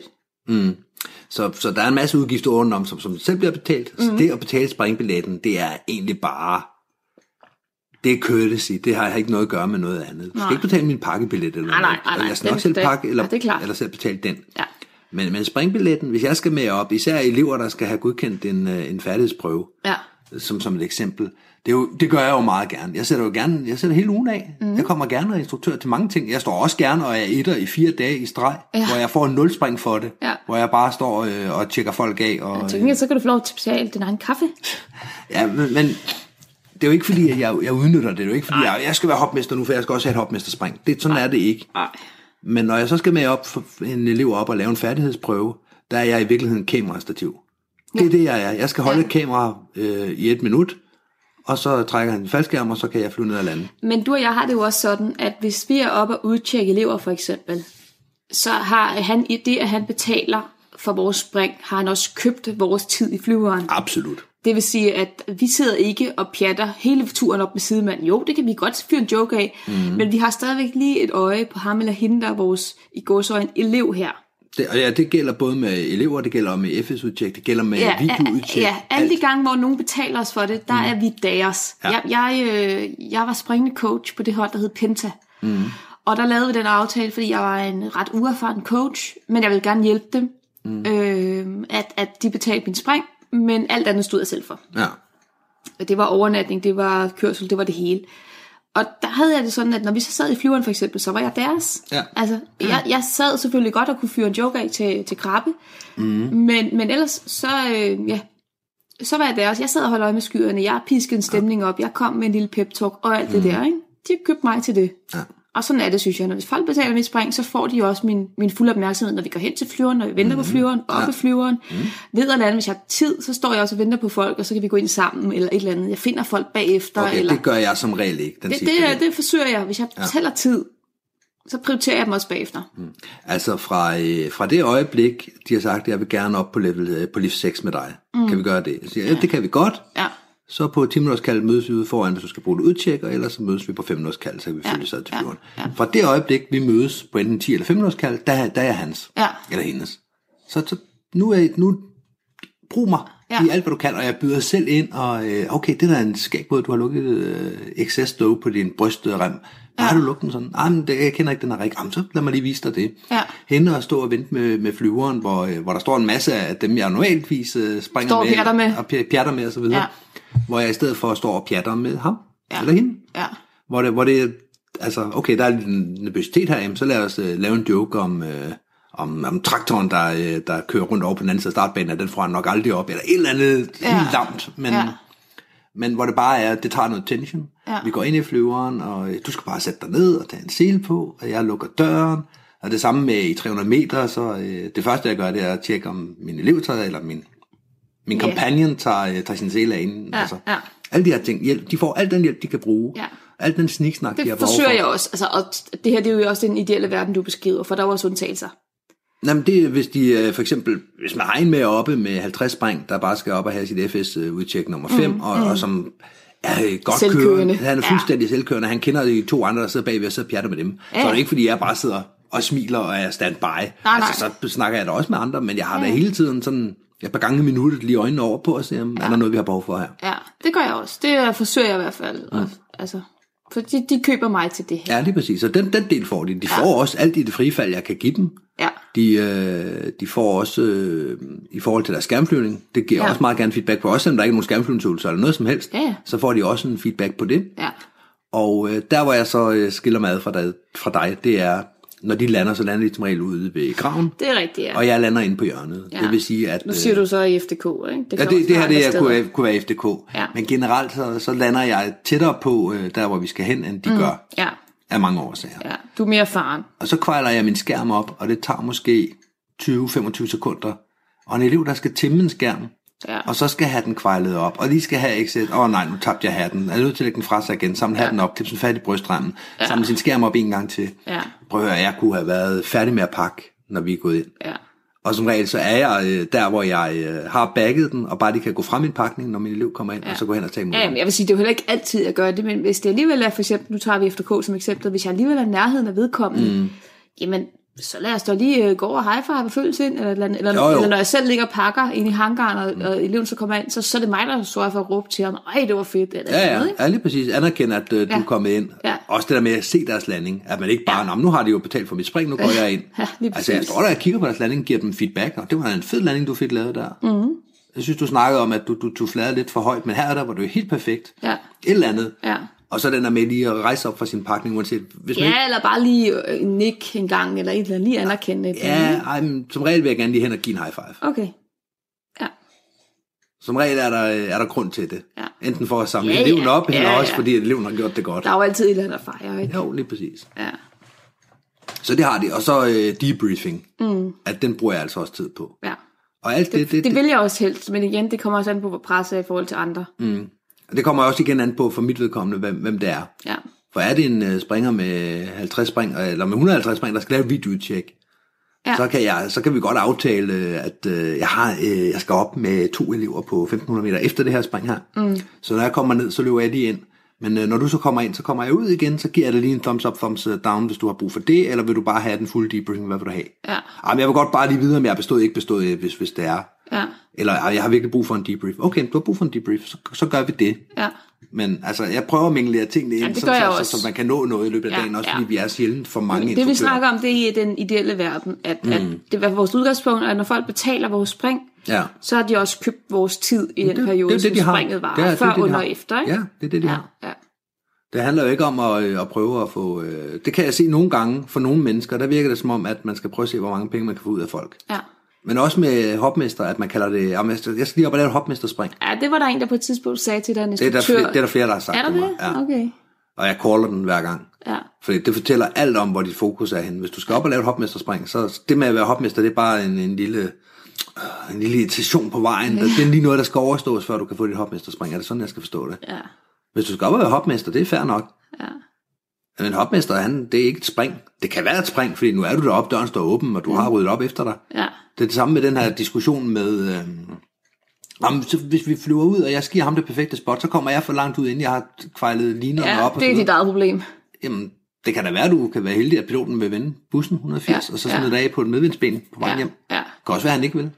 Så, så der er en masse udgifter udenom, som, som selv bliver betalt. Mhm. Mm. Så det at betale springbilletten, det er egentlig bare... Det er courtesy. Det har jeg ikke noget at gøre med noget andet. Du Nej. skal ikke betale min pakkebillet eller Nej, nej, noget. nej, nej. Jeg skal Den- nok selv den- pakke, eller, ja, det er klart. eller selv betale den. Ja. Men, men springbilletten, hvis jeg skal med op, især elever, der skal have godkendt en, øh, en færdighedsprøve, øh, Ja. som, som et eksempel, det, er jo, det gør jeg jo meget gerne. Jeg sætter jo gerne, jeg sætter hele ugen af. Mm. Jeg kommer gerne og er instruktør til mange ting. Jeg står også gerne og er etter i fire dage i streg, Ja. ja. hvor jeg får en nulspring for det. Ja. Hvor jeg bare står øh, og tjekker folk af. Og, Til gengæld så kan du få lov til at betale din egen kaffe. ja, men, men det er jo ikke fordi, at jeg, jeg udnytter det. Det er jo ikke fordi, jeg, jeg skal være hopmester nu, for jeg skal også have et hopmesterspring. Det, sådan er det ikke. Nej. Men når jeg så skal med op for en elev op og lave en færdighedsprøve, der er jeg i virkeligheden kamerastativ. Det er det, jeg er. Jeg skal holde Ja. et kamera øh, i et minut, og så trækker han en faldskærm, og så kan jeg flyve ned og lande. Men du og jeg har det jo også sådan, at hvis vi er oppe og udtjekke elever for eksempel, så har han i det, at han betaler for vores spring, har han også købt vores tid i flyveren. Absolut. Det vil sige, at vi sidder ikke og pjatter hele turen op med sidemanden. Jo, det kan vi godt fyre en joke af, mm. men vi har stadigvæk lige et øje på ham eller hende, der er vores i gåsøjne elev her. Det, og ja, det gælder både med elever, det gælder med FS-udtjek, det gælder med Ja, videoudtjek. ja, alle de alt. gange, hvor nogen betaler os for det, der mm. er vi deres. Ja. Ja. Jeg, jeg, øh, jeg var springende coach på det hold, der hed Penta. Mm. Og der lavede vi den aftale, fordi jeg var en ret uerfaren coach, men jeg ville gerne hjælpe dem, mm. øh, at, at de betalte min spring, men alt andet stod jeg selv for. Ja. Og Det var overnatning, det var kørsel, det var det hele. Og der havde jeg det sådan, at når vi så sad i flyveren for eksempel, så var jeg deres. Ja. Altså, jeg, jeg sad selvfølgelig godt og kunne fyre en joke af til, til krabbe. Mm. Men, men ellers, så, øh, ja, så var jeg deres. Jeg sad og holdt øje med skyerne, jeg piskede en stemning op, jeg kom med en lille pep-talk og alt mm. det der. Ikke? De købte mig til det. Ja. Og sådan er det, synes jeg. Når hvis folk betaler mit spring, så får de jo også min, min fulde opmærksomhed, når vi går hen til flyveren, når vi venter mm. på flyveren, op ja. Ja. af flyveren, mm. ned og lande. Hvis jeg har tid, så står jeg også og venter på folk, og så kan vi gå ind sammen, eller et eller andet. Jeg finder folk bagefter, Okay, eller... det gør jeg som regel ikke, den det, sidste det, del. det, det forsøger jeg. Hvis jeg ja. tæller tid, så prioriterer jeg dem også bagefter. Altså fra, øh, fra det øjeblik, de har sagt, at jeg vil gerne op på level øh, på lift 6 med dig. Mm. Kan vi gøre det? Jeg siger, ja, det kan vi godt. Ja. Så på 10 minutters kald mødes vi ude foran, hvis du skal bruge et udtjek, og ellers så mødes vi på 5 minutters kald, så kan vi følge sig til fjorden. Ja. Fra det øjeblik, vi mødes på enten 10 eller 5 minutters kald, der, der er jeg hans. Ja. Eller hendes. Så, så nu, er, nu brug mig Ja. ja. i alt, hvad du kan, og jeg byder selv ind, og øh, okay, det der er en skæg måde, du har lukket øh, excess stove på din brystrem. Ja. Har du lukket den sådan? Ej, men det, jeg kender ikke den her rigtig. Jamen, så lad mig lige vise dig det. Ja. Hende og stå og vente med, med flyveren, hvor, øh, hvor der står en masse af dem, jeg normaltvis øh, springer Står og med, pjatter med. og pj- pjatter med og så videre. Ja. Hvor jeg i stedet for står og pjatter med ham, Ja. ja. eller hende. Ja. Hvor det, hvor det altså, okay, der er lidt en nervøsitet her, jamen, så lad os øh, lave en joke om, øh, om, om traktoren, der, øh, der kører rundt over på den anden side af startbanen, og den får han nok aldrig op, eller et eller andet Ja. ja. helt lamt, men, Ja. ja. men hvor det bare er, det tager noget tension. Ja. Vi går ind i flyveren, og øh, du skal bare sætte dig ned og tage en sele på, og jeg lukker døren, og det samme med i 300 meter, så øh, det første, jeg gør, det er at tjekke, om min elev tager, eller min, min Ja. companion tager, øh, tager sin sele af inden. Ja, altså. ja. Alle de her ting, hjælp, de får al den hjælp, de kan bruge. Ja. Al den sniksnak, Det de har behov forsøger for. jeg også. Altså, og det her det er jo også den ideelle verden, du beskriver, for der er jo også undtagelser. Jamen det, er, hvis de øh, for eksempel, hvis man har en med oppe med 50 spring, der bare skal op og have sit FS øh, udtjek nummer 5, mm, og, og som er øh, godt Selvkørende. kørende. Han er Ja. fuldstændig selvkørende. Han kender de to andre, der sidder bagved og sidder og pjatter med dem. Ja. Så er det ikke, fordi jeg bare sidder og smiler og er standby. nej. Altså, så snakker jeg da også med andre, men jeg har da hele tiden sådan et par gange i minuttet lige øjnene over på og se, om ja. er der noget, vi har behov for her. Ja, det gør jeg også. Det øh, forsøger jeg i hvert fald. Mm. Og, altså, for de, de køber mig til det her. Ja, lige præcis. Så den, den del får de. De får også alt i det frifald, jeg kan give dem. Ja. De, øh, de får også, øh, i forhold til deres skærmflyvning, det giver Ja. ja. også meget gerne feedback på, også selvom der ikke er nogen skærmflyvningsøvelser eller noget som helst, Ja, ja. så får de også en feedback på det. Ja. Og øh, der, hvor jeg så øh, skiller mig ad fra dig, fra dig, det er, når de lander, så lander de som regel ude ved graven, Det er rigtigt, ja. og jeg lander inde på hjørnet. Ja. Det vil sige, at... Nu siger øh, du så i FDK, ikke? Ja, kan også det, det her det være andre jeg steder. kunne, kunne være FDK. Ja. Men generelt, så, så lander jeg tættere på øh, der, hvor vi skal hen, end de mm. gør, Ja, af mange årsager. ja. Du er mere erfaren. Og så kvejler jeg min skærm op, og det tager måske 20-25 sekunder. Og en elev, der skal tæmme en skærm, Ja. og så skal have den kvejlet op, og lige skal have exit. Åh oh, nej, nu tabte jeg hatten. Jeg er nødt til at lægge den fra sig igen, samle hatten op, klippe den fat i brystremmen, ja. samle sin skærm op en gang til. Ja. Prøv at høre, jeg kunne have været færdig med at pakke, når vi er gået ind. Ja. Og som regel, så er jeg øh, der, hvor jeg øh, har bagget den, og bare lige kan gå frem i pakning, når min elev kommer ind, ja. og så gå hen og tage imod Ja, den. men jeg vil sige, det er jo heller ikke altid, jeg gør det, men hvis det alligevel er, for eksempel, nu tager vi FDK som eksempel, hvis jeg alligevel er i nærheden af vedkommende, mm. jamen, så lad os da lige øh, gå over high five og følges ind, eller, et eller, andet. eller, Jo, jo. eller når jeg selv ligger og pakker ind i hangaren, og, mm. og eleven så kommer ind, så, så er det mig, der sørger for at råbe til ham, ej, det var fedt, eller Ja, ja, noget, ikke? ja, lige præcis. Anerkende, at øh, du Ja. er kommet ind. Ja. Også det der med at se deres landing. At man ikke bare, ja. nu har de jo betalt for mit spring, nu går jeg ind. Ja, lige altså, jeg præcis. står der og kigger på deres landing, giver dem feedback. Og det var da en fed landing, du fik lavet der. Mhm. Mm. Jeg synes, du snakkede om, at du, du, du fladede lidt for højt, men her og der var du helt perfekt. Ja. Et eller andet. Ja. Og så den der med lige at rejse op fra sin pakning, uanset... Hvis man Ja, eller bare lige øh, en nik en gang, eller et eller andet, lige anerkende det. ikke, ja ej, men som regel vil jeg gerne lige hen og give en high five. Okay. Ja. Som regel er der, øh, er der grund til det. Ja. Enten for at samle Ja, ja, ja. eleven op, ja, Ja, eller ja. også fordi eleven har gjort det godt. Der er jo altid et eller andet at fejre, ikke? Jo, lige præcis. Ja. Så det har de. Og så øh, debriefing. Mm. At den bruger jeg altså også tid på. ja. Og alt det, det, Det det, vil jeg også helst, men igen, det kommer også an på, hvor presset er i forhold til andre. Mm. det, det kommer også igen an på for mit vedkommende, hvem, hvem det er. Ja. For er det en øh, springer med 50 spring, øh, eller med 150 spring, der skal lave et videotjek, Ja. så, kan jeg, så kan vi godt aftale, øh, at øh, jeg, har, øh, jeg skal op med to elever på 1500 meter efter det her spring her. Mm. Så når jeg kommer ned, så løber jeg lige ind. Men øh, når du så kommer ind, så kommer jeg ud igen, så giver jeg dig lige en thumbs up, thumbs øh, down, hvis du har brug for det, eller vil du bare have den fulde debriefing, hvad vil du have? Ja. Jamen, jeg vil godt bare lige vide, om jeg har bestået ikke bestået, øh, hvis, hvis det er. Ja. Eller "Ej, jeg har virkelig brug for en debrief. Okay, du har brug for en debrief, så, så gør vi det. Ja. Men altså, jeg prøver at minglere tingene ind, det så, gør jeg så, også. så, så man kan nå noget i løbet af Ja, ja, dagen, også ja. fordi vi er sjældent for mange Det vi instruktører. snakker om, det er i den ideelle verden, at, mm. at det er vores udgangspunkt, at når folk betaler vores spring, Ja. så har de også købt vores tid i den det er periode, jo det, de som har. springet var, Det er- det er før, det, de under og har. efter. Ikke? Ja, det er det, de ja. har. Ja. Det handler jo ikke om at, øh, at prøve at få... Øh, det kan jeg se nogle gange for nogle mennesker, der virker det som om, at man skal prøve at se, hvor mange penge man kan få ud af folk. Ja. Men også med hopmester, at man kalder det... "Jamen, Jeg skal jeg skal lige op og lave et hopmesterspring. ja, det var der en, der på et tidspunkt sagde til dig, en Det er, der instruktør. flere, det er der flere, der har sagt er der til det? mig. Ja. Okay. Og jeg caller den hver gang. Ja. Fordi det fortæller alt om, hvor dit fokus er henne. Hvis du skal op og lave et hopmesterspring, så det med at være hopmester, det er bare en, en lille øh, en lille irritation på vejen. Ja. Det er lige noget, der skal overstås, før du kan få dit hopmesterspring. Er det sådan, jeg skal forstå det? Ja. Hvis du skal op og være hopmester, det er fair nok. Ja. Men hopmester, han, det er ikke et spring. Det kan være et spring, fordi nu er du deroppe, døren står åben, og du har ryddet op efter dig. Ja. Det er det samme med den her diskussion med, øh, om, så hvis vi flyver ud, og jeg skiver ham det perfekte spot, så kommer jeg for langt ud, inden jeg har kvejlet linerne Ja, op. og det sådan er noget. dit eget problem. Jamen, det kan da være, at du kan være heldig, at piloten vil vende bussen 180, Ja, ja, og så ja. smide ja. dig af på et medvindsben på vej Ja, ja, hjem. ja. Det kan også være, at han ikke vil.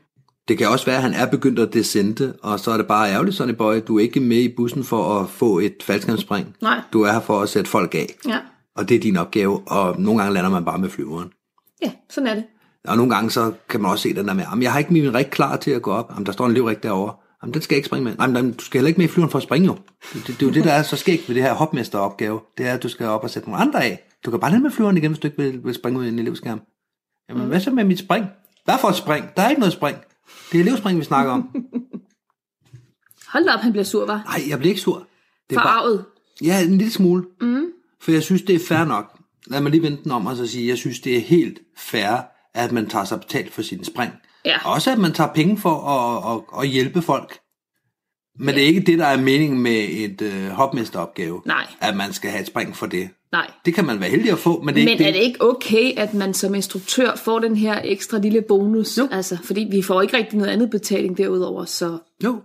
Det kan også være, at han er begyndt at descente, og så er det bare ærgerligt, Sonny Boy, du er ikke med i bussen for at få et faldskærmsspring. Nej. Du er her for at sætte folk af, Ja. og det er din opgave, og nogle gange lander man bare med flyveren. ja, sådan er det. Og nogle gange, så kan man også se den der med, jamen, jeg har ikke min rig klar til at gå op. Jamen, der står en livrig derovre. Jamen, den skal jeg ikke springe med. Jamen, jamen, du skal heller ikke med i flyveren for at springe jo. Det, det, det er jo det, der er så skægt ved det her hopmesteropgave. Det er, at du skal op og sætte nogle andre af. Du kan bare ned med flyveren igen, hvis du ikke vil, vil springe ud i en elevskærm. Jamen, hvad så med mit spring? Hvad for et spring? Der er ikke noget spring. Det er elevspring, vi snakker om. Hold da op, han bliver sur, var. Nej, jeg bliver ikke sur. Det er bare, Forarvet. ja, en lille smule. Mm. For jeg synes, det er fair nok. Lad mig lige vente den om og så sige, jeg synes, det er helt fair, at man tager sig betalt for sine spring. Ja. Også at man tager penge for at, at, at hjælpe folk. Men det er ikke det, der er meningen med et øh, hopmesteropgave. Nej. At man skal have et spring for det. Nej. Det kan man være heldig at få, men det er Men ikke er det ikke okay, at man som instruktør får den her ekstra lille bonus? Jo. Altså, fordi vi får ikke rigtig noget andet betaling derudover, så Jo,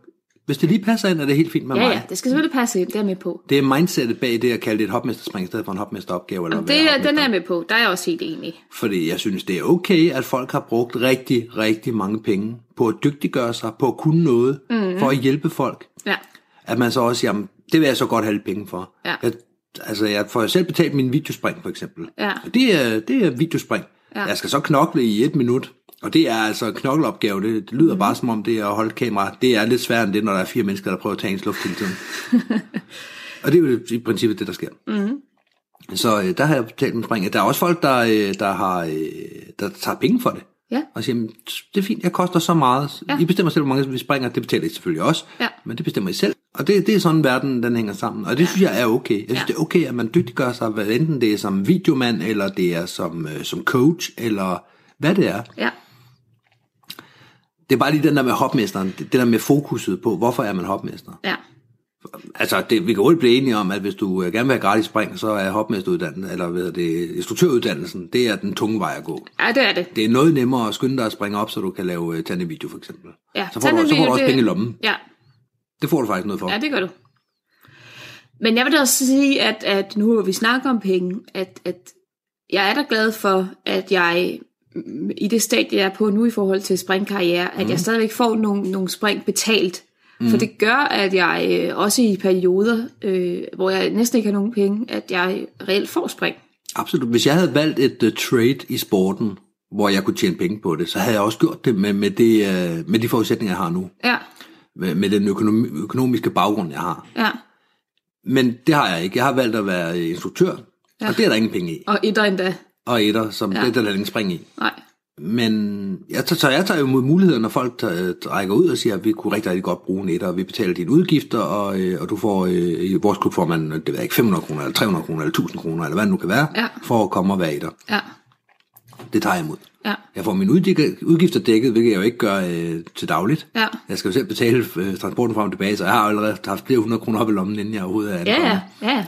hvis det lige passer ind, er det helt fint med ja, mig. ja, det skal selvfølgelig passe ind, det er jeg med på. Det er mindsetet bag det at kalde det et hopmesterspring i stedet for en hopmesteropgave. Eller Det, hvad er- den er hopmester- jeg med på, der er jeg også helt enig. Fordi jeg synes, det er okay, at folk har brugt rigtig, rigtig mange penge på at dygtiggøre sig, på at kunne noget, mm. for at hjælpe folk. Ja, at man så også siger, "Jamen, det vil jeg så godt have lidt penge for. Ja. Jeg, altså, jeg får jo selv betalt min videospring, for eksempel. Ja. Og det er, det er videospring. Ja. Jeg skal så knokle i et minut, og det er altså en knokleopgave. Det, det Mhm. lyder mm. bare som om det er at holde kamera. Det er lidt sværere end det, når der er fire mennesker, der prøver at tage ens luft hele tiden. og det er jo i princippet det, der sker. Mhm. Mm. Så øh, der har jeg betalt min spring. Der er også folk, der, øh, der, har, øh, der tager penge for det ja, og siger, "Jamen, det er fint, jeg koster så meget. Ja. Ja. I bestemmer selv, hvor mange vi springer. Det betaler I selvfølgelig også, Ja. men det bestemmer I selv. Og det, det er sådan, verden den hænger sammen. Og det synes jeg er okay. Jeg synes, Ja. det er okay, at man dygtiggør sig, hvad enten det er som videomand, eller det er som, øh, som coach, eller hvad det er. ja, Det er bare lige den der med hopmesteren, det, det der med fokuset på, hvorfor er man hopmester. ja, Altså, det, vi kan hurtigt blive enige om, at hvis du øh, gerne vil have gratis spring, så er hopmesteruddannelsen, eller hvad hedder det, instruktøruddannelsen, det er den tunge vej at gå. ja, det er det. Det er noget nemmere at skynde dig at springe op, så du kan lave uh, tandevideo for eksempel. Ja, så, får du, så får du også penge i lommen. Ja, Det får du faktisk noget for. ja, det gør du. Men jeg vil da også sige, at, at nu hvor vi snakker om penge, at, at jeg er da glad for, at jeg mm, i det stadie, jeg er på nu i forhold til springkarriere, at mm. jeg stadigvæk får nogle, nogle spring betalt. Mm. For det gør, at jeg øh, også i perioder, øh, hvor jeg næsten ikke har nogen penge, at jeg reelt får spring. Absolut. Hvis jeg havde valgt et uh, trade i sporten, hvor jeg kunne tjene penge på det, så havde jeg også gjort det med, med, det, uh, med de forudsætninger, jeg har nu. Ja, Med, med den økonomi- økonomiske baggrund, jeg har. ja. Men det har jeg ikke. Jeg har valgt at være øh, instruktør, ja. og det er der ingen penge i. Og etter endda. Og etter, som Ja. ja. det er der ingen spring i. Nej. Men jeg tager, så jeg tager jo mod muligheden, når folk tager- rækker ud og siger, at vi kunne rigtig, rigtig godt bruge netter, og vi betaler dine udgifter, og, øh, og du får, øh, i vores klub får man, øh, det ved jeg ikke, 500 kroner, eller 300 kroner, eller 1000 kroner, eller hvad det nu kan være, Ja. for at komme og være i dig. Ja, Det tager jeg imod. ja, Jeg får mine udgik- udgifter dækket, hvilket jeg jo ikke gør øh, til dagligt. Ja. Jeg skal jo selv betale øh, transporten frem og tilbage, så jeg har allerede haft flere hundrede kroner op i lommen, inden jeg overhovedet er ja, ankommet. ja. ja.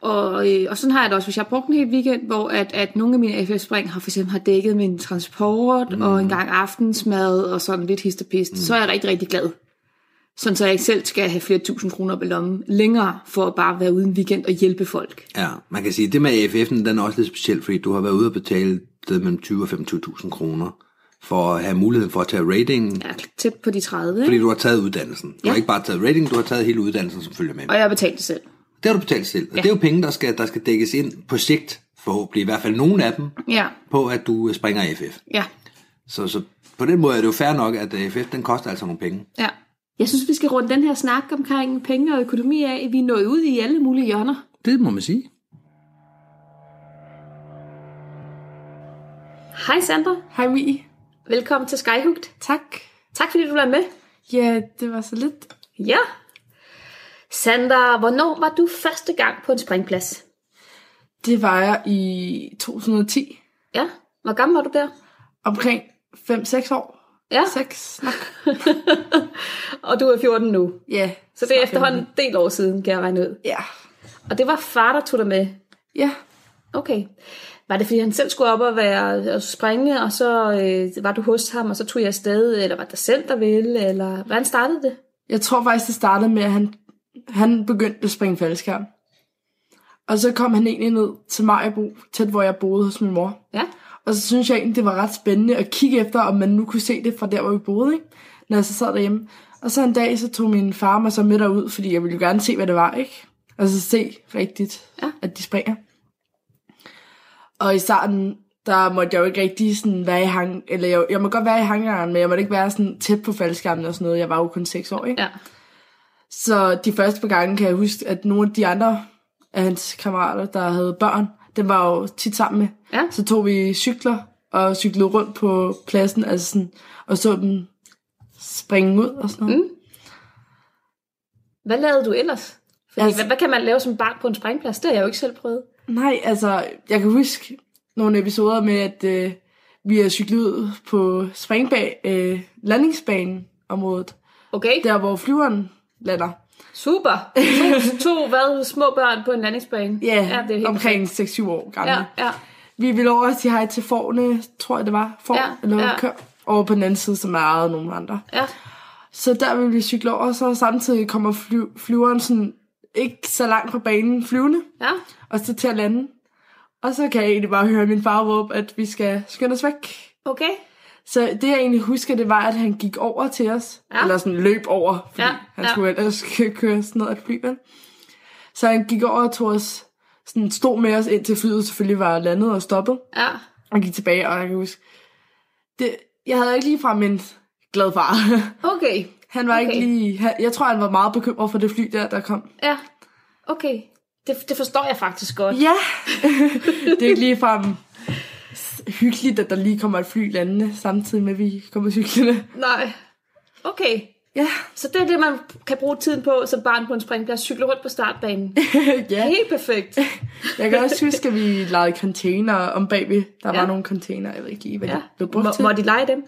Og, øh, og sådan har jeg det også, hvis jeg har brugt en hel weekend, hvor at, at nogle af mine FF-spring har for eksempel har dækket min transport mm. og en gang aftensmad og sådan lidt histopist, mm. så er jeg rigtig, rigtig glad. Sådan så jeg ikke selv skal have flere tusind kroner op i lommen længere for at bare være uden weekend og hjælpe folk. Ja, man kan sige, at det med AFF'en, den er også lidt speciel, fordi du har været ude og betale et sted mellem 20 og 25.000 kroner for at have muligheden for at tage ratingen, ja. Jeg er tæt på de 30, fordi ikke? du har taget uddannelsen. Du Ja. ja. har ikke bare taget rating, du har taget hele uddannelsen, som følger med. og jeg har betalt det selv. Det har du betalt selv, og ja. det er jo penge, der skal, der skal dækkes ind på sigt, forhåbentlig i hvert fald nogle af dem, Ja, på at du øh, springer AFF. ja, Så, så på den måde er det jo fair nok, at AFF, den koster altså nogle penge. ja. Jeg synes, vi skal runde den her snak omkring penge og økonomi af. Vi er nået ud i alle mulige hjørner. Det må man sige. Hej Sandra, Hej Mi. velkommen til Skyhugt. Tak. Tak fordi du var med. Ja, det var så lidt. Ja. Sandra, hvornår var du første gang på en springplads? Det var jeg i 2010. Ja, hvor gammel var du der? Omkring 5-6 år. Ja, 6 nok. og du er 14 nu. Ja. Så det er efterhånden en del år siden, kan jeg regne ud. Ja. Og det var far, der tog dig med. Ja. Okay. Var det, fordi han selv skulle op og være og springe, og så øh, var du hos ham, og så tog jeg afsted, eller var det dig selv, der ville, eller hvordan startede det? Jeg tror faktisk, det startede med, at han, han begyndte at springe faldskærm. Og så kom han egentlig ned til Majbo, tæt hvor jeg boede hos min mor. Ja. Og så synes jeg egentlig, det var ret spændende at kigge efter, om man nu kunne se det fra der, hvor vi boede, ikke? når jeg så sad derhjemme. Og så en dag, så tog min far mig så med derud, fordi jeg ville jo gerne se, hvad det var, ikke? Og så se rigtigt, Ja. ja. at de springer. Og i starten, der måtte jeg jo ikke rigtig sådan være i hang... Eller jeg, jeg må godt være i hangaren, men jeg måtte ikke være sådan tæt på faldskærmen og sådan noget. Jeg var jo kun 6 år, ikke? Ja. Så de første par gange kan jeg huske, at nogle af de andre af hans kammerater, der havde børn, den var jo tit sammen med. Ja. Så tog vi cykler og cyklede rundt på pladsen altså sådan, og så dem springe ud og sådan noget. Mm. Hvad lavede du ellers? Fordi, Altså- altså... hvad, hvad kan man lave som barn på en springplads? Det har jeg jo ikke selv prøvet. Nej, altså, jeg kan huske nogle episoder med, at øh, vi har cyklet ud på springbag, øh, landingsbaneområdet, Okay, der hvor flyveren lander. super. To, to hvad, små børn på en landingsbane. ja det er helt omkring 6-7 år gamle. Ja, ja. Vi ville over og sige hej til forne, tror jeg det var. For, Ja, ja, eller ja. ja. kør over på den anden side, som er ejet af nogle andre. Ja, Så der ville vi cykle over, og så samtidig kommer fly, flyveren sådan, ikke så langt fra banen flyvende, ja. og så til at lande. Og så kan jeg egentlig bare høre min far råbe, at vi skal skynde os væk. Okay. Så det jeg egentlig husker, det var, at han gik over til os. Ja. Ja. Eller sådan løb over, fordi Ja, ja. han ja. skulle ellers kø- køre sådan noget af flyet. Så han gik over og tog os, sådan stod med os indtil flyet selvfølgelig var landet og stoppet. Ja, Og gik tilbage, og jeg kan huske, det, jeg havde ikke ligefrem en glad far. okay. Han var okay. Okay. ikke lige... han- Jeg tror, han var meget bekymret for det fly der, der kom. Ja, okay. Det, det forstår jeg faktisk godt. Ja! det er ikke ligefrem s- hyggeligt, at der lige kommer et fly landende, samtidig med, at vi kommer cyklerne. Nej. Okay. Ja, Så det er det, man kan bruge tiden på som barn på en springplads. Cykle rundt på startbanen. ja. Helt perfekt. Jeg kan også huske, at vi legede container om bagved. Der Ja. var nogle container, jeg ved ikke lige, hvad Ja. ja. de blev brugt Må, til. må de lege dem?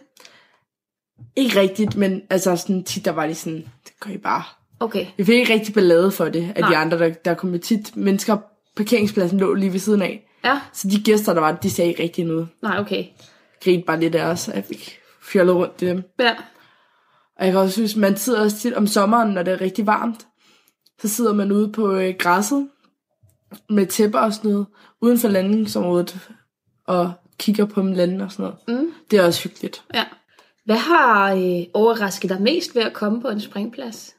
Ikke rigtigt, men altså sådan tit, der var de sådan, det gør I bare. Okay. Vi fik ikke rigtig ballade for det, af Nej. de andre, der, der kom jo tit mennesker. Parkeringspladsen lå lige ved siden af. Ja. Så de gæster, der var, de sagde ikke rigtig noget. Nej, okay. Grinte bare lidt af os, at vi fjollede rundt i dem. Ja. Og jeg kan også synes, man sidder også tit om sommeren, når det er rigtig varmt. Så sidder man ude på øh, græsset med tæpper og sådan noget, uden for landingsområdet, og kigger på dem lande og sådan noget. Mm. Det er også hyggeligt. ja. Hvad har øh, overrasket dig mest ved at komme på en springplads?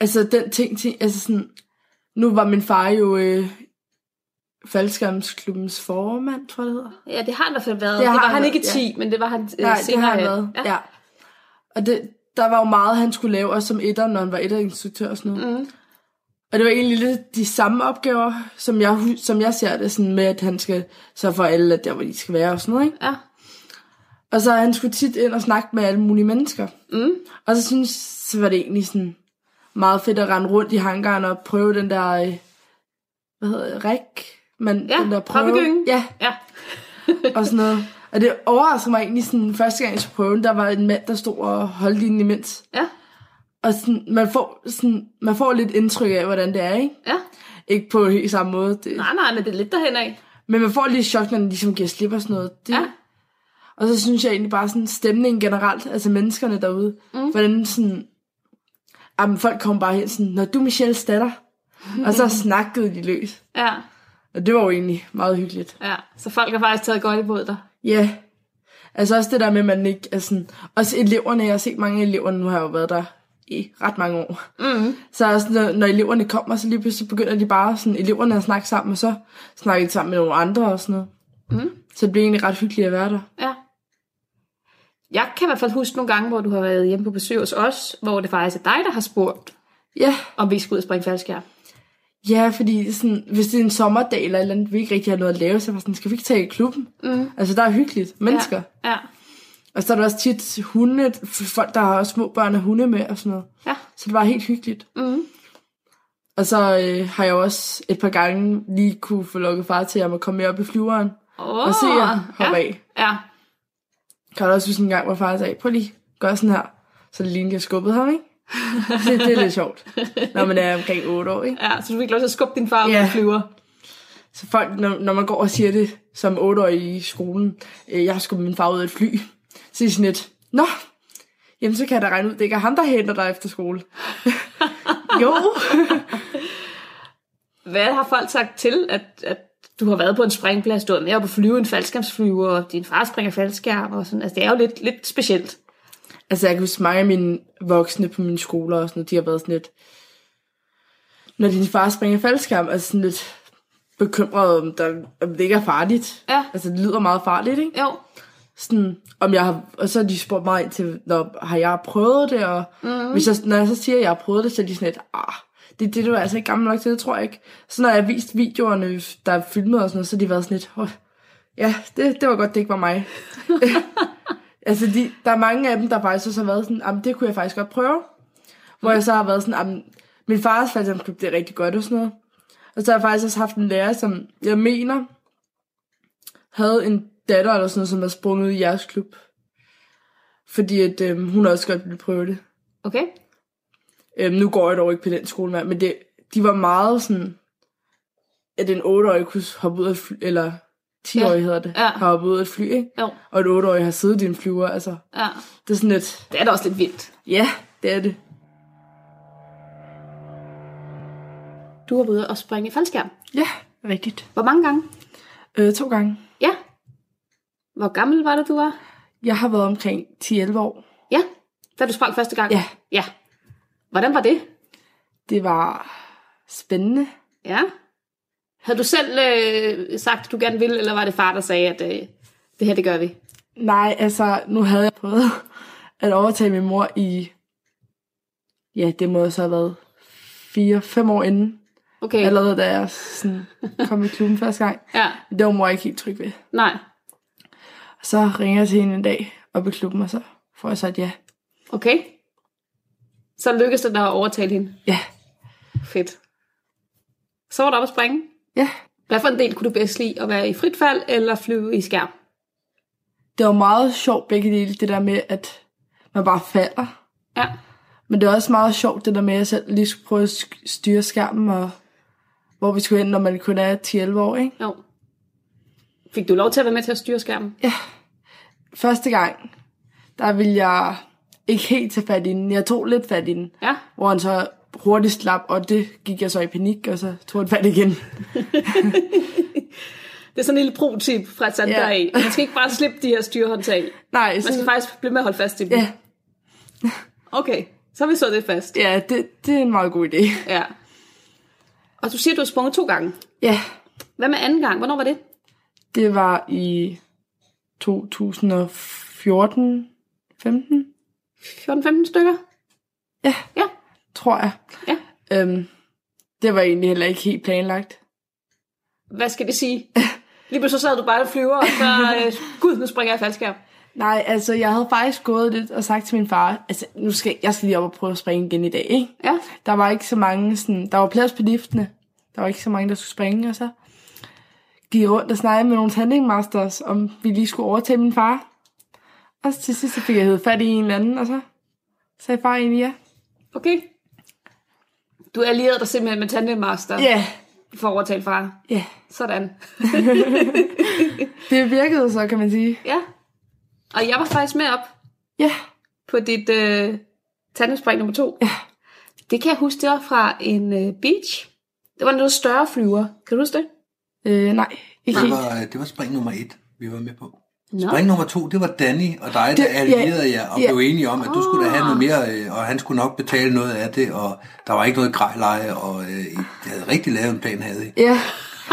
Altså den ting, ting altså sådan, nu var min far jo øh, faldskærmsklubbens formand, tror jeg det hedder. Ja, det har han i hvert fald været. Det Det, har det var han han været, ikke i 10, ja. men det var han øh, Nej, det senere. har han hen. været. Ja. Ja. ja. Og det, der var jo meget, han skulle lave, også som etter, når han var etterinstruktør og sådan noget. Mm. Og det var egentlig lidt de samme opgaver, som jeg, hu- som jeg ser det, sådan med, at han skal så for alle at der, hvor de skal være og sådan noget, ikke? ja. Og så han skulle tit ind og snakke med alle mulige mennesker. Mm. Og så synes så var det egentlig sådan meget fedt at rende rundt i hangaren og prøve den der, øh, hvad hedder det, ræk? Man, Ja, den der hoppegyngen. Ja, ja. og sådan noget. Og det overraskede mig egentlig sådan, første gang jeg skulle prøve den, der var en mand, der stod og holdt linjen imens. Ja. Og sådan, man, får, sådan, man får lidt indtryk af, hvordan det er, ikke? Ja. Ikke på helt samme måde. Det, Nej, nej, men det er lidt derhen af. Men man får lige chok, når den ligesom giver slip og sådan noget. Det, Ja. Og så synes jeg egentlig bare sådan stemningen generelt, altså menneskerne derude, mm. hvordan sådan, jamen folk kom bare hen sådan, når du er Michelles datter, og så snakkede de løs. Ja. Og det var jo egentlig meget hyggeligt. Ja. Så folk har faktisk taget godt imod dig. Ja, altså også det der med, at man ikke er sådan, også eleverne, jeg har set mange af eleverne, nu har jeg jo været der i ret mange år. Mm. Så er sådan, når, når eleverne kommer, så lige pludselig begynder de bare sådan, eleverne at snakke sammen, og så snakker de sammen med nogle andre og sådan noget. Mhm. Så det bliver egentlig ret hyggeligt at være der. Ja. Jeg kan i hvert fald huske nogle gange, hvor du har været hjemme på besøg hos os, hvor det faktisk er dig, der har spurgt, Ja, om vi skal ud og springe faldskærm. ja fordi sådan, hvis det er en sommerdag eller et eller andet, vi ikke rigtig har noget at lave, så er jeg sådan, skal vi ikke tage i klubben? Mm. Altså, der er hyggeligt. Mennesker. Ja. Ja. Og så er der også tit hunde, f- folk, der har små børn og hunde med og sådan noget. Ja. Så det var helt hyggeligt. Mm. Og så øh, har jeg også et par gange lige kunne få lukket far til, at jeg må komme med op i flyveren Oh, og se jer hoppe ja. af. Ja. Kan du også huske en gang, hvor far sagde, prøv lige, gør sådan her. Så det lignede, jeg skubbede ham, ikke? Så det er lidt sjovt, når man er omkring 8 år, ikke? ja, så du fik lov til at skubbe din far ud Ja. yeah. flyver. Så folk, når, når man går og siger det som 8 i skolen, øh, jeg har skubbet min far ud af et fly, så er de sådan lidt, nå, jamen så kan jeg da regne ud, det ikke er ham, der henter dig efter skole. jo, Hvad har folk sagt til, at, at du har været på en springplads, du har med op og flyve en faldskærmsflyver, og din far springer faldskærm, og sådan. Altså, det er jo lidt, lidt specielt. Altså, jeg kan huske mange af mine voksne på mine skoler og sådan noget, de har været sådan lidt, når din far springer faldskærm, altså sådan lidt bekymret, om, der, om det ikke er farligt. Ja. Altså, det lyder meget farligt, ikke? Jo, Sådan, om jeg har, og så har de spurgt mig ind til, når, har jeg prøvet det, og mm-hmm. hvis jeg, når jeg så siger, at jeg har prøvet det, så er de sådan lidt, ah, det, det du er altså ikke gammel nok til, det tror jeg ikke. Så når jeg har vist videoerne, der er filmet og sådan noget, så har de været sådan lidt, oh, ja, det, det var godt, det ikke var mig. Altså, de, der er mange af dem, der faktisk også har været sådan, jamen, det kunne jeg faktisk godt prøve. Hvor jeg så har været sådan, jamen, min fars faldskærmsklub, det er rigtig godt og sådan noget. Og så har jeg faktisk også haft en lærer, som jeg mener, havde en datter eller sådan noget, som er sprunget ud i jeres klub. Fordi at øhm, hun også godt ville prøve det. okay. Øhm, nu går jeg dog ikke på den skole mere, men det, de var meget sådan, at en 8-årig kunne hoppe ud af et fly, eller 10-årig Ja. hedder det, Ja. har hoppet ud af et fly, ikke? Jo, Og et 8-årig har siddet i en flyver, altså. ja. Det er sådan lidt, Det er da også lidt vildt. ja, det er det. Du har været ude og springe faldskærm. Ja, rigtigt. Hvor mange gange? Øh, to gange. Ja. Hvor gammel var det, du var? Jeg har været omkring 10-11 år. Ja, da du sprang første gang. Ja. Ja. Hvordan var det? Det var spændende. Ja. Havde du selv øh, sagt, at du gerne ville, eller var det far, der sagde, at øh, det her, det gør vi? Nej, altså, nu havde jeg prøvet at overtage min mor i... Ja, det må så have været 4-5 år inden. Okay. Allerede da jeg sådan kom i klubben første gang. Ja. Det var mor ikke helt tryg ved. Nej. Og så ringer jeg til hende en dag op i klubben, og så får jeg så et ja. Okay. Så lykkedes det dig at overtale hende. Ja, Fedt. Så var du oppe at springe. ja. Hvad for en del kunne du bedst lide? At være i frit fald eller flyve i skærm? Det var meget sjovt begge dele, det der med, at man bare falder. Ja. Men det er også meget sjovt, det der med, at jeg selv lige skulle prøve at sk- styre skærmen, og hvor vi skulle hen, når man kun er 10-11 år, ikke? Jo. Fik du lov til at være med til at styre skærmen? Ja. Første gang, der ville jeg ikke helt tage fat i den. Jeg tog lidt fat i den, ja. hvor han så hurtigt slap, og det gik jeg så i panik, og så tog han fat igen. Det er sådan en lille pro-tip fra et sandt Ja. af. Man skal ikke bare slippe de her styrehåndtag. Nej, Man skal så, faktisk blive med at holde fast i dem. ja, Okay, så har vi så det fast. ja det, det er en meget god idé. Ja. Og du siger, at du har sprunget to gange. Ja, Hvad med anden gang? Hvornår var det? det var i 2014 15 14-15 stykker? Ja. Ja. tror jeg. Ja. Øhm, det var egentlig heller ikke helt planlagt. Hvad skal det sige? Lige pludselig så sad du bare og flyver, og så, øh, gud, nu springer jeg faldskærm. Nej, altså jeg havde faktisk gået lidt og sagt til min far, altså nu skal jeg skal lige op og prøve at springe igen i dag, ikke? Ja, Der var ikke så mange sådan, der var plads på liftene. Der var ikke så mange, der skulle springe, og så gik jeg rundt og snakkede med nogle tandingmasters, om vi lige skulle overtage min far. Og så til sidst så fik jeg hævet fat i en eller anden, og så sagde far egentlig ja. okay. Du allierede dig simpelthen med tandemmaster Ja, yeah, for at overtale far. ja. Yeah. Sådan. Det virkede så, kan man sige. Ja. Og jeg var faktisk med op Ja, på dit øh, tandemspring nummer to. Ja. Det kan jeg huske, det var fra en øh, beach. Det var en noget større flyver. Kan du huske det? øh, nej, ikke Det helt. var, øh, det var spring nummer et, vi var med på. Nå. Spring nummer to, det var Danny og dig, Det- der allierede jer og ja. blev enige om, at du skulle da have Ah. noget mere, øh, og han skulle nok betale noget af det, og der var ikke noget grejleje, og øh, I havde rigtig lavet en plan, havde I. Ja,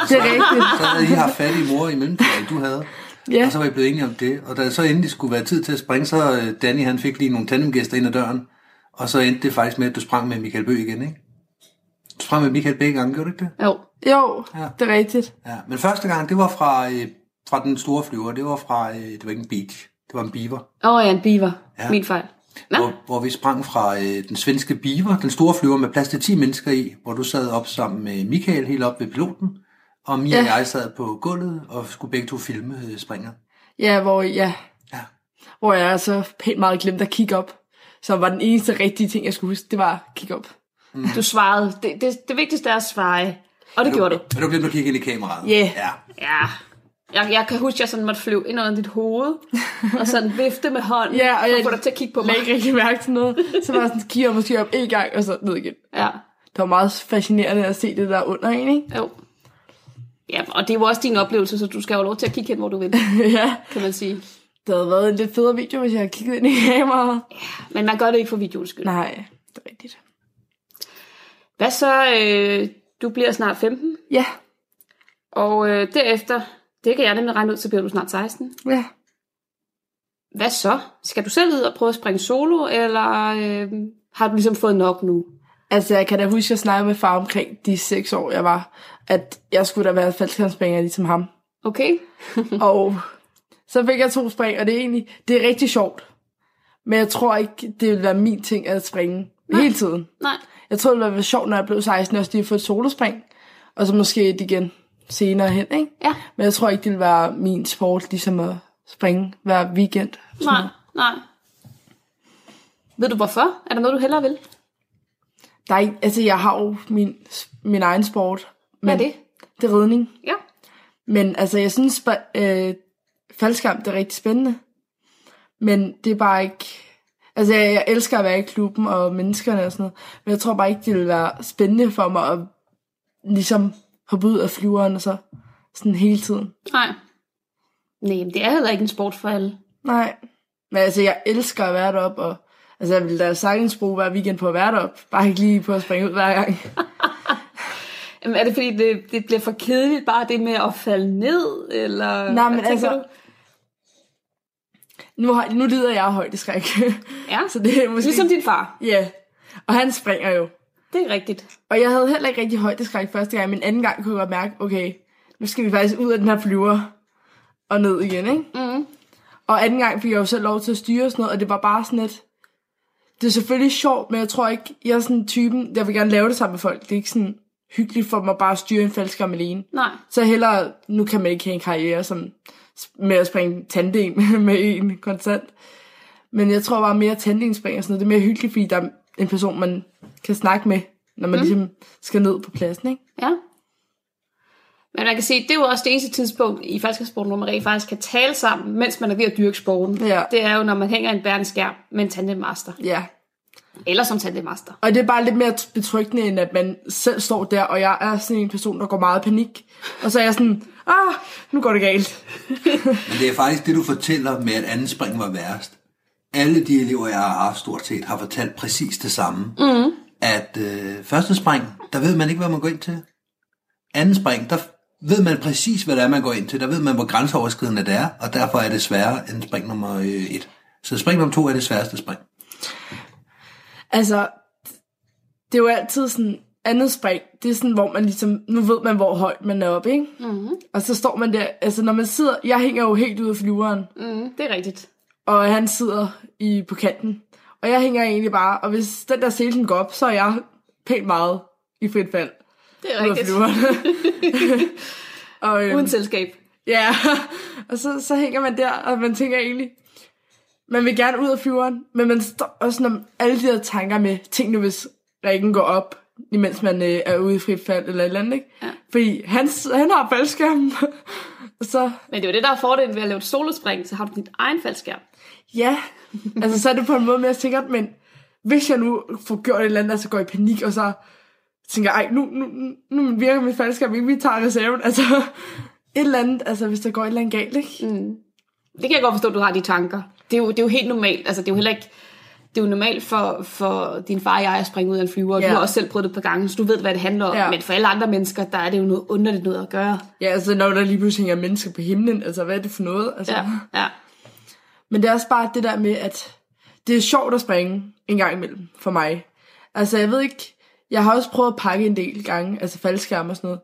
det er rigtigt. Så havde I haft fat i mor i mellemtiden, du havde. Ja. Og så var I blevet enige om det. Og da det så endelig skulle være tid til at springe, så øh, Danny han fik lige nogle tandemgæster ind ad døren. Og så endte det faktisk med, at du sprang med Michael Bøg igen, ikke? Du sprang med Michael begge gange, gjorde du ikke det? Jo. Jo, Ja. det er rigtigt. Ja, men første gang, det var fra, øh, fra den store flyver. Det var fra, øh, det var ikke en beach, det var en beaver. Åh oh, ja, en beaver. Ja. Ja. Min fejl. Nå. Hvor, hvor vi sprang fra øh, den svenske Beaver, den store flyver med plads til 10 mennesker i, hvor du sad op sammen med Michael helt op ved piloten, og Mia ja. og jeg sad på gulvet og skulle begge to filme øh, springet. Ja, hvor, ja. Ja. hvor jeg altså pænt meget glemte at kigge op. Så var den eneste rigtige ting, jeg skulle huske, det var at kigge op. Du svarede. Det, det, det vigtigste er at svare. Og det gjorde du. Er du glemt at kigge ind i kameraet? Ja. Ja. Ja. Jeg, jeg kan huske, at jeg sådan måtte flyve ind under dit hoved, og sådan vifte med hånden, Ja, og jeg få dig til at kigge på mig. lagde ikke rigtig mærke til noget. Så var jeg sådan, kigger jeg måske op en gang, og så ned igen. Ja, Det var meget fascinerende at se det der under en, ikke? jo. Ja, og det er jo også din oplevelse, så du skal jo have lov til at kigge hen, hvor du vil, ja. kan man sige. Det havde været en lidt federe video, hvis jeg havde kigget ind i kameraet. Men man gør det ikke for videoens skyld. Nej, det er rigtigt. Hvad så? Øh, du bliver snart 15, Ja, og øh, derefter, det kan jeg nemlig regne ud, så bliver du snart 16. ja. Hvad så? Skal du selv ud og prøve at springe solo, eller øh, har du ligesom fået nok nu? Altså, jeg kan da huske, at jeg snakkede med far omkring de seks år, jeg var, at jeg skulle da være faldskærmspringer ligesom ham. Okay? Og så fik jeg to spring, og det er egentlig, det er rigtig sjovt. Men jeg tror ikke, det ville være min ting at springe Nej. hele tiden. Nej. Jeg tror, det ville være sjovt, når jeg blev 16, også lige at få et solospring. Og så måske et igen senere hen, ikke? Ja. Men jeg tror ikke, det ville være min sport, ligesom at springe hver weekend. Nej, nej. Ved du hvorfor? Er der noget, du hellere vil? Der er ikke, altså, jeg har jo min, min egen sport. Hvad er det? Det er ridning. Ja. Men altså, jeg synes, sp- øh, faldskærm, det er rigtig spændende. Men det er bare ikke... Altså, jeg, jeg elsker at være i klubben og menneskerne og sådan noget. Men jeg tror bare ikke, det ville være spændende for mig at ligesom hoppe ud af flyveren og så sådan hele tiden. Nej. Nej, men det er heller ikke en sport for alle. Nej. Men altså, jeg elsker at være deroppe, og altså, jeg ville da sagtens bruge hver weekend på at være deroppe. Bare ikke lige på at springe ud hver gang. Jamen, er det fordi, det, det bliver for kedeligt bare det med at falde ned, eller Nej, men hvad tænker altså- Du? Nu, har, nu lider jeg af højdeskræk. Ja, så det er måske... Ligesom din far. Ja. Og han springer jo. Det er rigtigt. Og jeg havde heller ikke rigtig højdeskræk første gang, men anden gang kunne jeg godt mærke, okay, nu skal vi faktisk ud af den her flyver og ned igen, ikke? Mm. Og anden gang fik jeg jo selv lov til at styre og sådan noget, og det var bare sådan et... Det er selvfølgelig sjovt, men jeg tror ikke, jeg er sådan typen, jeg vil gerne lave det sammen med folk. Det er ikke sådan hyggeligt for mig bare at styre en faldskærm alene. Nej. Så hellere, nu kan man ikke have en karriere som, med at springe tandem med en konstant. Men jeg tror bare mere tandemspring og sådan noget, det er mere hyggeligt, fordi der er en person, man kan snakke med, når man mm. ligesom skal ned på pladsen, ikke? Ja. Men man kan se, det er jo også det eneste tidspunkt i falskersporten, hvor man rent faktisk kan tale sammen, mens man er ved at dyrke sporten. Ja. Det er jo, når man hænger i en bærende skærm med en tandemmaster. Ja. Eller som tandemmaster. Og det er bare lidt mere betryggende, end at man selv står der, og jeg er sådan en person, der går meget i panik. Og så er jeg sådan, ah, nu går det galt. Men det er faktisk det, du fortæller med, at anden spring var værst. Alle de elever, jeg har haft stort set, har fortalt præcis det samme. Mm. At øh, første spring, der ved man ikke, hvad man går ind til. Anden spring, der ved man præcis, hvad det er, man går ind til. Der ved man, hvor grænseoverskridende det er, og derfor er det sværere end spring nummer øh, et. Så spring nummer to er det sværeste spring. Altså, det er jo altid sådan andet spring. Det er sådan, hvor man ligesom, nu ved man, hvor højt man er oppe, ikke? Mhm. Og så står man der, altså når man sidder, jeg hænger jo helt ud af flyveren, Mm, det er rigtigt. og han sidder i, på kanten. Og jeg hænger egentlig bare, og hvis den der selen går op, så er jeg pænt meget i frit fald. Det er ud af rigtigt. flyveren. og, øhm, Uden selskab. Ja, og så, så hænger man der, og man tænker egentlig, man vil gerne ud af flyveren, men man står også om alle de der tanker med, ting nu hvis rækken går op, imens man øh, er ude i frit fald eller et eller andet, ikke? Ja. Fordi han, s- han har faldskærmen, og så, Men det er jo det, der er fordelen ved at lave et solospring, så har du dit egen faldskærm. ja, altså så er det på en måde mere sikkert, men hvis jeg nu får gjort et eller andet, og så går jeg i panik, og så tænker, ej, nu, nu, nu nu virker mit faldskærm ikke, vi tager reserven, altså et eller andet, altså hvis der går et eller andet galt, ikke? Det kan jeg godt forstå, at du har de tanker. Det er jo, det er jo helt normalt. Altså, det er jo heller ikke... Det er jo normalt for, for din far og jeg at springe ud af en flyver, og Ja. du har også selv prøvet det et par gange, så du ved, hvad det handler om. Ja. Men for alle andre mennesker, der er det jo noget underligt noget at gøre. Ja, altså når der lige pludselig hænger mennesker på himlen, altså hvad er det for noget? Altså. Ja, ja. Men det er også bare det der med, at det er sjovt at springe en gang imellem for mig. Altså jeg ved ikke, jeg har også prøvet at pakke en del gange, altså faldskærm og sådan noget.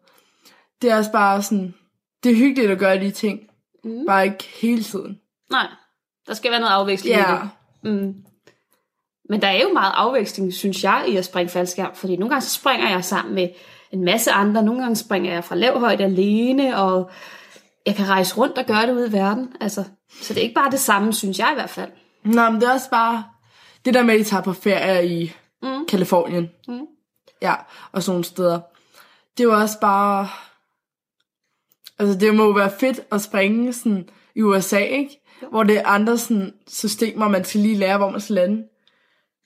Det er også bare sådan, det er hyggeligt at gøre de ting, mm. bare ikke hele tiden. Nej, der skal være noget afveksling i Ja, det. Mm. Men der er jo meget afveksling, synes jeg, i at springe faldskærm, fordi nogle gange så springer jeg sammen med en masse andre, nogle gange springer jeg fra lav højde alene, og jeg kan rejse rundt og gøre det ude i verden. Altså, så det er ikke bare det samme, synes jeg i hvert fald. Nå, men det er også bare det der med, at I tager på ferie i mm. Kalifornien. Mm. Ja, og sådan nogle steder. det er jo også bare... Altså, det må jo være fedt at springe sådan, i USA, ikke? Hvor det er andre sådan, systemer, man skal lige lære, hvor man skal lande.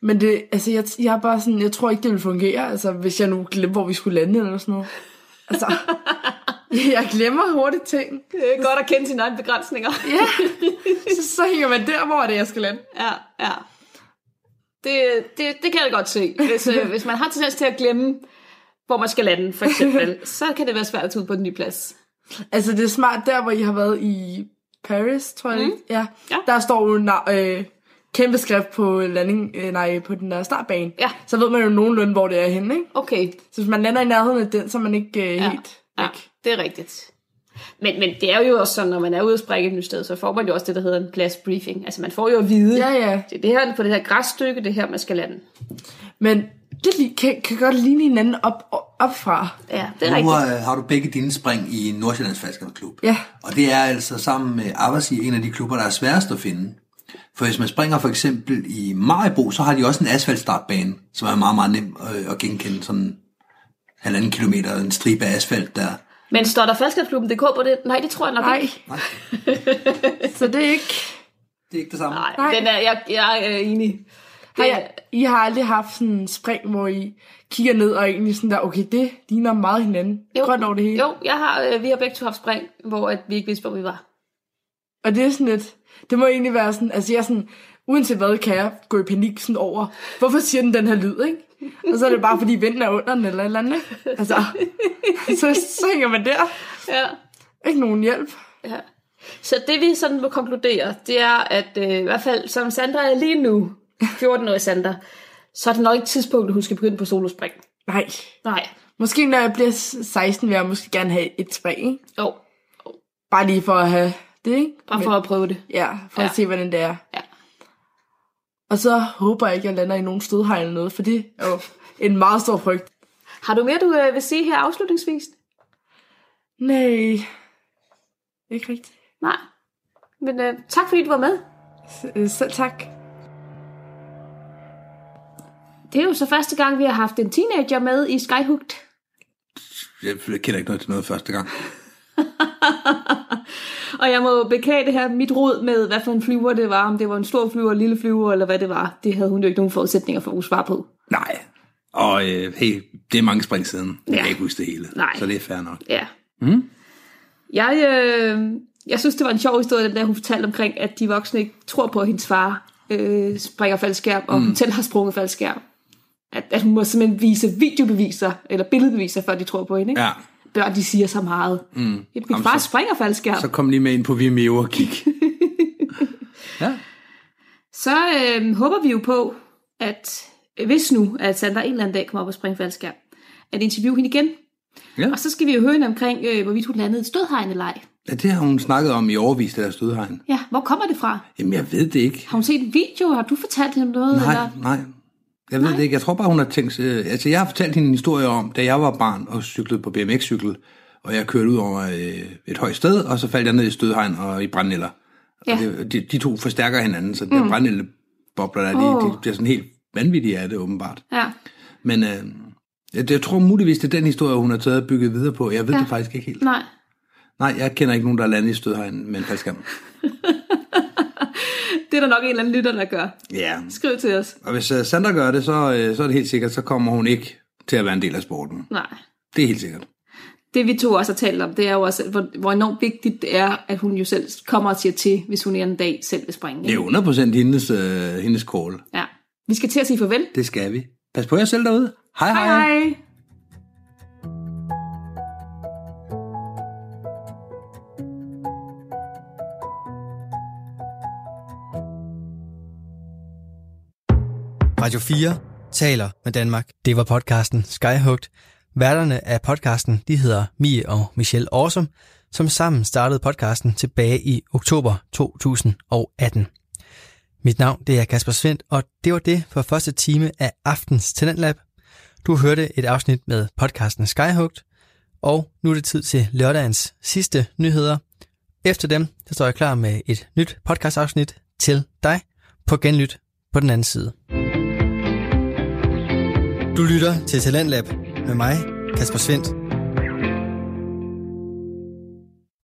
Men det, altså, jeg, jeg er bare sådan, jeg tror ikke, det vil fungere, altså, hvis jeg nu glemmer, hvor vi skulle lande eller sådan noget. Altså, jeg glemmer hurtigt ting. Det er godt at kende sine egne begrænsninger. Ja, så, så hænger man der, hvor er det, jeg skal lande. Ja, ja. Det, det, det kan jeg godt se. Hvis, øh, hvis man har tendens til at glemme, hvor man skal lande, for eksempel, så kan det være svært at tage ud på en ny plads. Altså, det er smart der, hvor I har været i Paris, tror jeg. Mm. Ja. Ja. ja. Der står jo en øh, kæmpe skrift på, landing, øh, nej, på den der startbane. Ja. Så ved man jo nogenlunde, hvor det er henne, ikke? Okay, Så hvis man lander i nærheden af den, så er man ikke øh, Ja. helt ja, væk. det er rigtigt. Men, men det er jo også sådan, når man er ude og sprække et nyt sted, så får man jo også det, der hedder en plads briefing. Altså man får jo at vide, Ja, ja. det er det her på det her græsstykke, det er her, man skal lande. Men det li- kan, kan godt ligne hinanden op, op fra. Ja, det er Nu rigtigt. øh, har du begge dine spring i Nordsjællands Falskerklub. Ja. Og det er altså sammen med Abbasi en af de klubber, der er sværest at finde. For hvis man springer for eksempel i Maribo, så har de også en asfaltstartbane, som er meget, meget nem øh, at genkende. Sådan halvanden kilometer, en stribe af asfalt der. Men står der falskabsklubben.dk på det? Nej, det tror jeg nok Nej. ikke. Nej, Så det er ikke... det er ikke det samme. Nej, Nej. Den er, jeg, jeg er øh, enig. Har jeg, I har aldrig haft sådan en spring, hvor I kigger ned og egentlig sådan der, okay, det ligner meget hinanden. Jo. Grønt over det hele. Jo, jeg har, øh, vi har begge to haft spring, hvor at vi ikke vidste, hvor vi var. Og det er sådan lidt, det må egentlig være sådan, altså jeg er sådan, uanset hvad kan jeg gå i panik sådan over, hvorfor siger den den her lyd, ikke? Og så er det bare, fordi vinden er under den eller et eller andet, ikke? Altså, så, så hænger man der. Ja. Ikke nogen hjælp. ja. Så det vi sådan må konkludere, det er, at øh, i hvert fald som Sandra er lige nu, 14-årig Sandra, så er det nok ikke tidspunktet, hun skal begynde på solospring. Nej. Nej. Måske når jeg bliver 16, vil jeg måske gerne have et spring, ikke? Jo, Bare lige for at have det, ikke? bare for at prøve det. Ja, for Ja. at se, hvordan det er. Ja. Og så håber jeg ikke, at jeg lander i nogen stødhegn eller noget, for det er jo en meget stor frygt. Har du mere, du øh, vil sige her afslutningsvis? Nej, ikke rigtigt. Nej. Men øh, tak fordi du var med. S- øh, Selv tak. Det er jo så første gang, vi har haft en teenager med i Skyhooked. Jeg kender ikke noget til noget første gang. Og jeg må jo beklage det her, mit råd med, hvad for en flyver det var, om det var en stor flyver, en lille flyver, eller hvad det var. Det havde hun jo ikke nogen forudsætninger for at kunne svare på. Nej. Og øh, hey, det er mange spring siden. Ja. Jeg Ja. kan ikke huske det hele. Nej. Så det er fair nok. Ja. Mm. Jeg, øh, jeg synes, det var en sjov historie, den der hun fortalte omkring, at de voksne ikke tror på, at hendes far øh, springer faldskærm, og mm. hun selv har sprunget faldskærm. At, at hun må simpelthen vise videobeviser, eller billedbeviser, før de tror på hende. Ikke? Ja. Børn, de siger så meget. Mm. Min Jamen, far så- springer faldskærm. Så kom lige med ind på Vimeo og kig. ja. Så øh, håber vi jo på, at hvis nu, at Sandra en eller anden dag kommer op og springer faldskærm, at interviewe hende igen. Ja. Og så skal vi jo høre hende omkring, øh, hvorvidt hun landede et stødhegn eller ej. ja, det har hun snakket om i overvis, det der stødhegn. Ja, hvor kommer det fra? Jamen, jeg ved det ikke. Har hun set en video? Har du fortalt hende noget? Nej, Eller? nej. Jeg ved det ikke. Jeg tror bare, hun har tænkt... Øh, altså, jeg har fortalt hende en historie om, da jeg var barn og cyklede på BMX-cykel, og jeg kørte ud over øh, et højt sted, og så faldt jeg ned i stødhegn og i brændnælder. Ja. Ja. Og det, de, de to forstærker hinanden, så mm. der brændnældebobler, der, oh. de, Åh. de bliver sådan helt vanvittige af det, åbenbart. Ja. Men øh, jeg, jeg tror muligvis, det er den historie, hun har taget og bygget videre på. Jeg ved ja. Ja. det faktisk ikke helt. Nej. Nej, jeg kender ikke nogen, der er landet i stødhegn med en faldskærm. Det er der nok en eller anden lytter, der gør. Ja, Skriv til os. og hvis øh, Sandra gør det, så, øh, så er det helt sikkert, så kommer hun ikke til at være en del af sporten. Nej. Det er helt sikkert. Det vi to også har talt om, det er jo også, at hvor, hvor enormt vigtigt det er, at hun jo selv kommer og siger til, hvis hun en dag selv vil springe. Det ikke? er 100% hendes, øh, hendes call. Ja. Vi skal til at sige farvel. Det skal vi. Pas på jer selv derude. Hej hej. Hej hej. Radio 4 taler med Danmark. Det var podcasten Skyhugt. Værterne af podcasten de hedder Mie og Michelle Awesome, som sammen startede podcasten tilbage i oktober 2018. Mit navn det er Kasper Svendt, og det var det for første time af aftens Talentlab. Du hørte et afsnit med podcasten Skyhugt, og nu er det tid til lørdagens sidste nyheder. Efter dem så står jeg klar med et nyt podcastafsnit til dig på Genlyt på den anden side. Du lytter til Talentlab med mig, Kasper Svendt.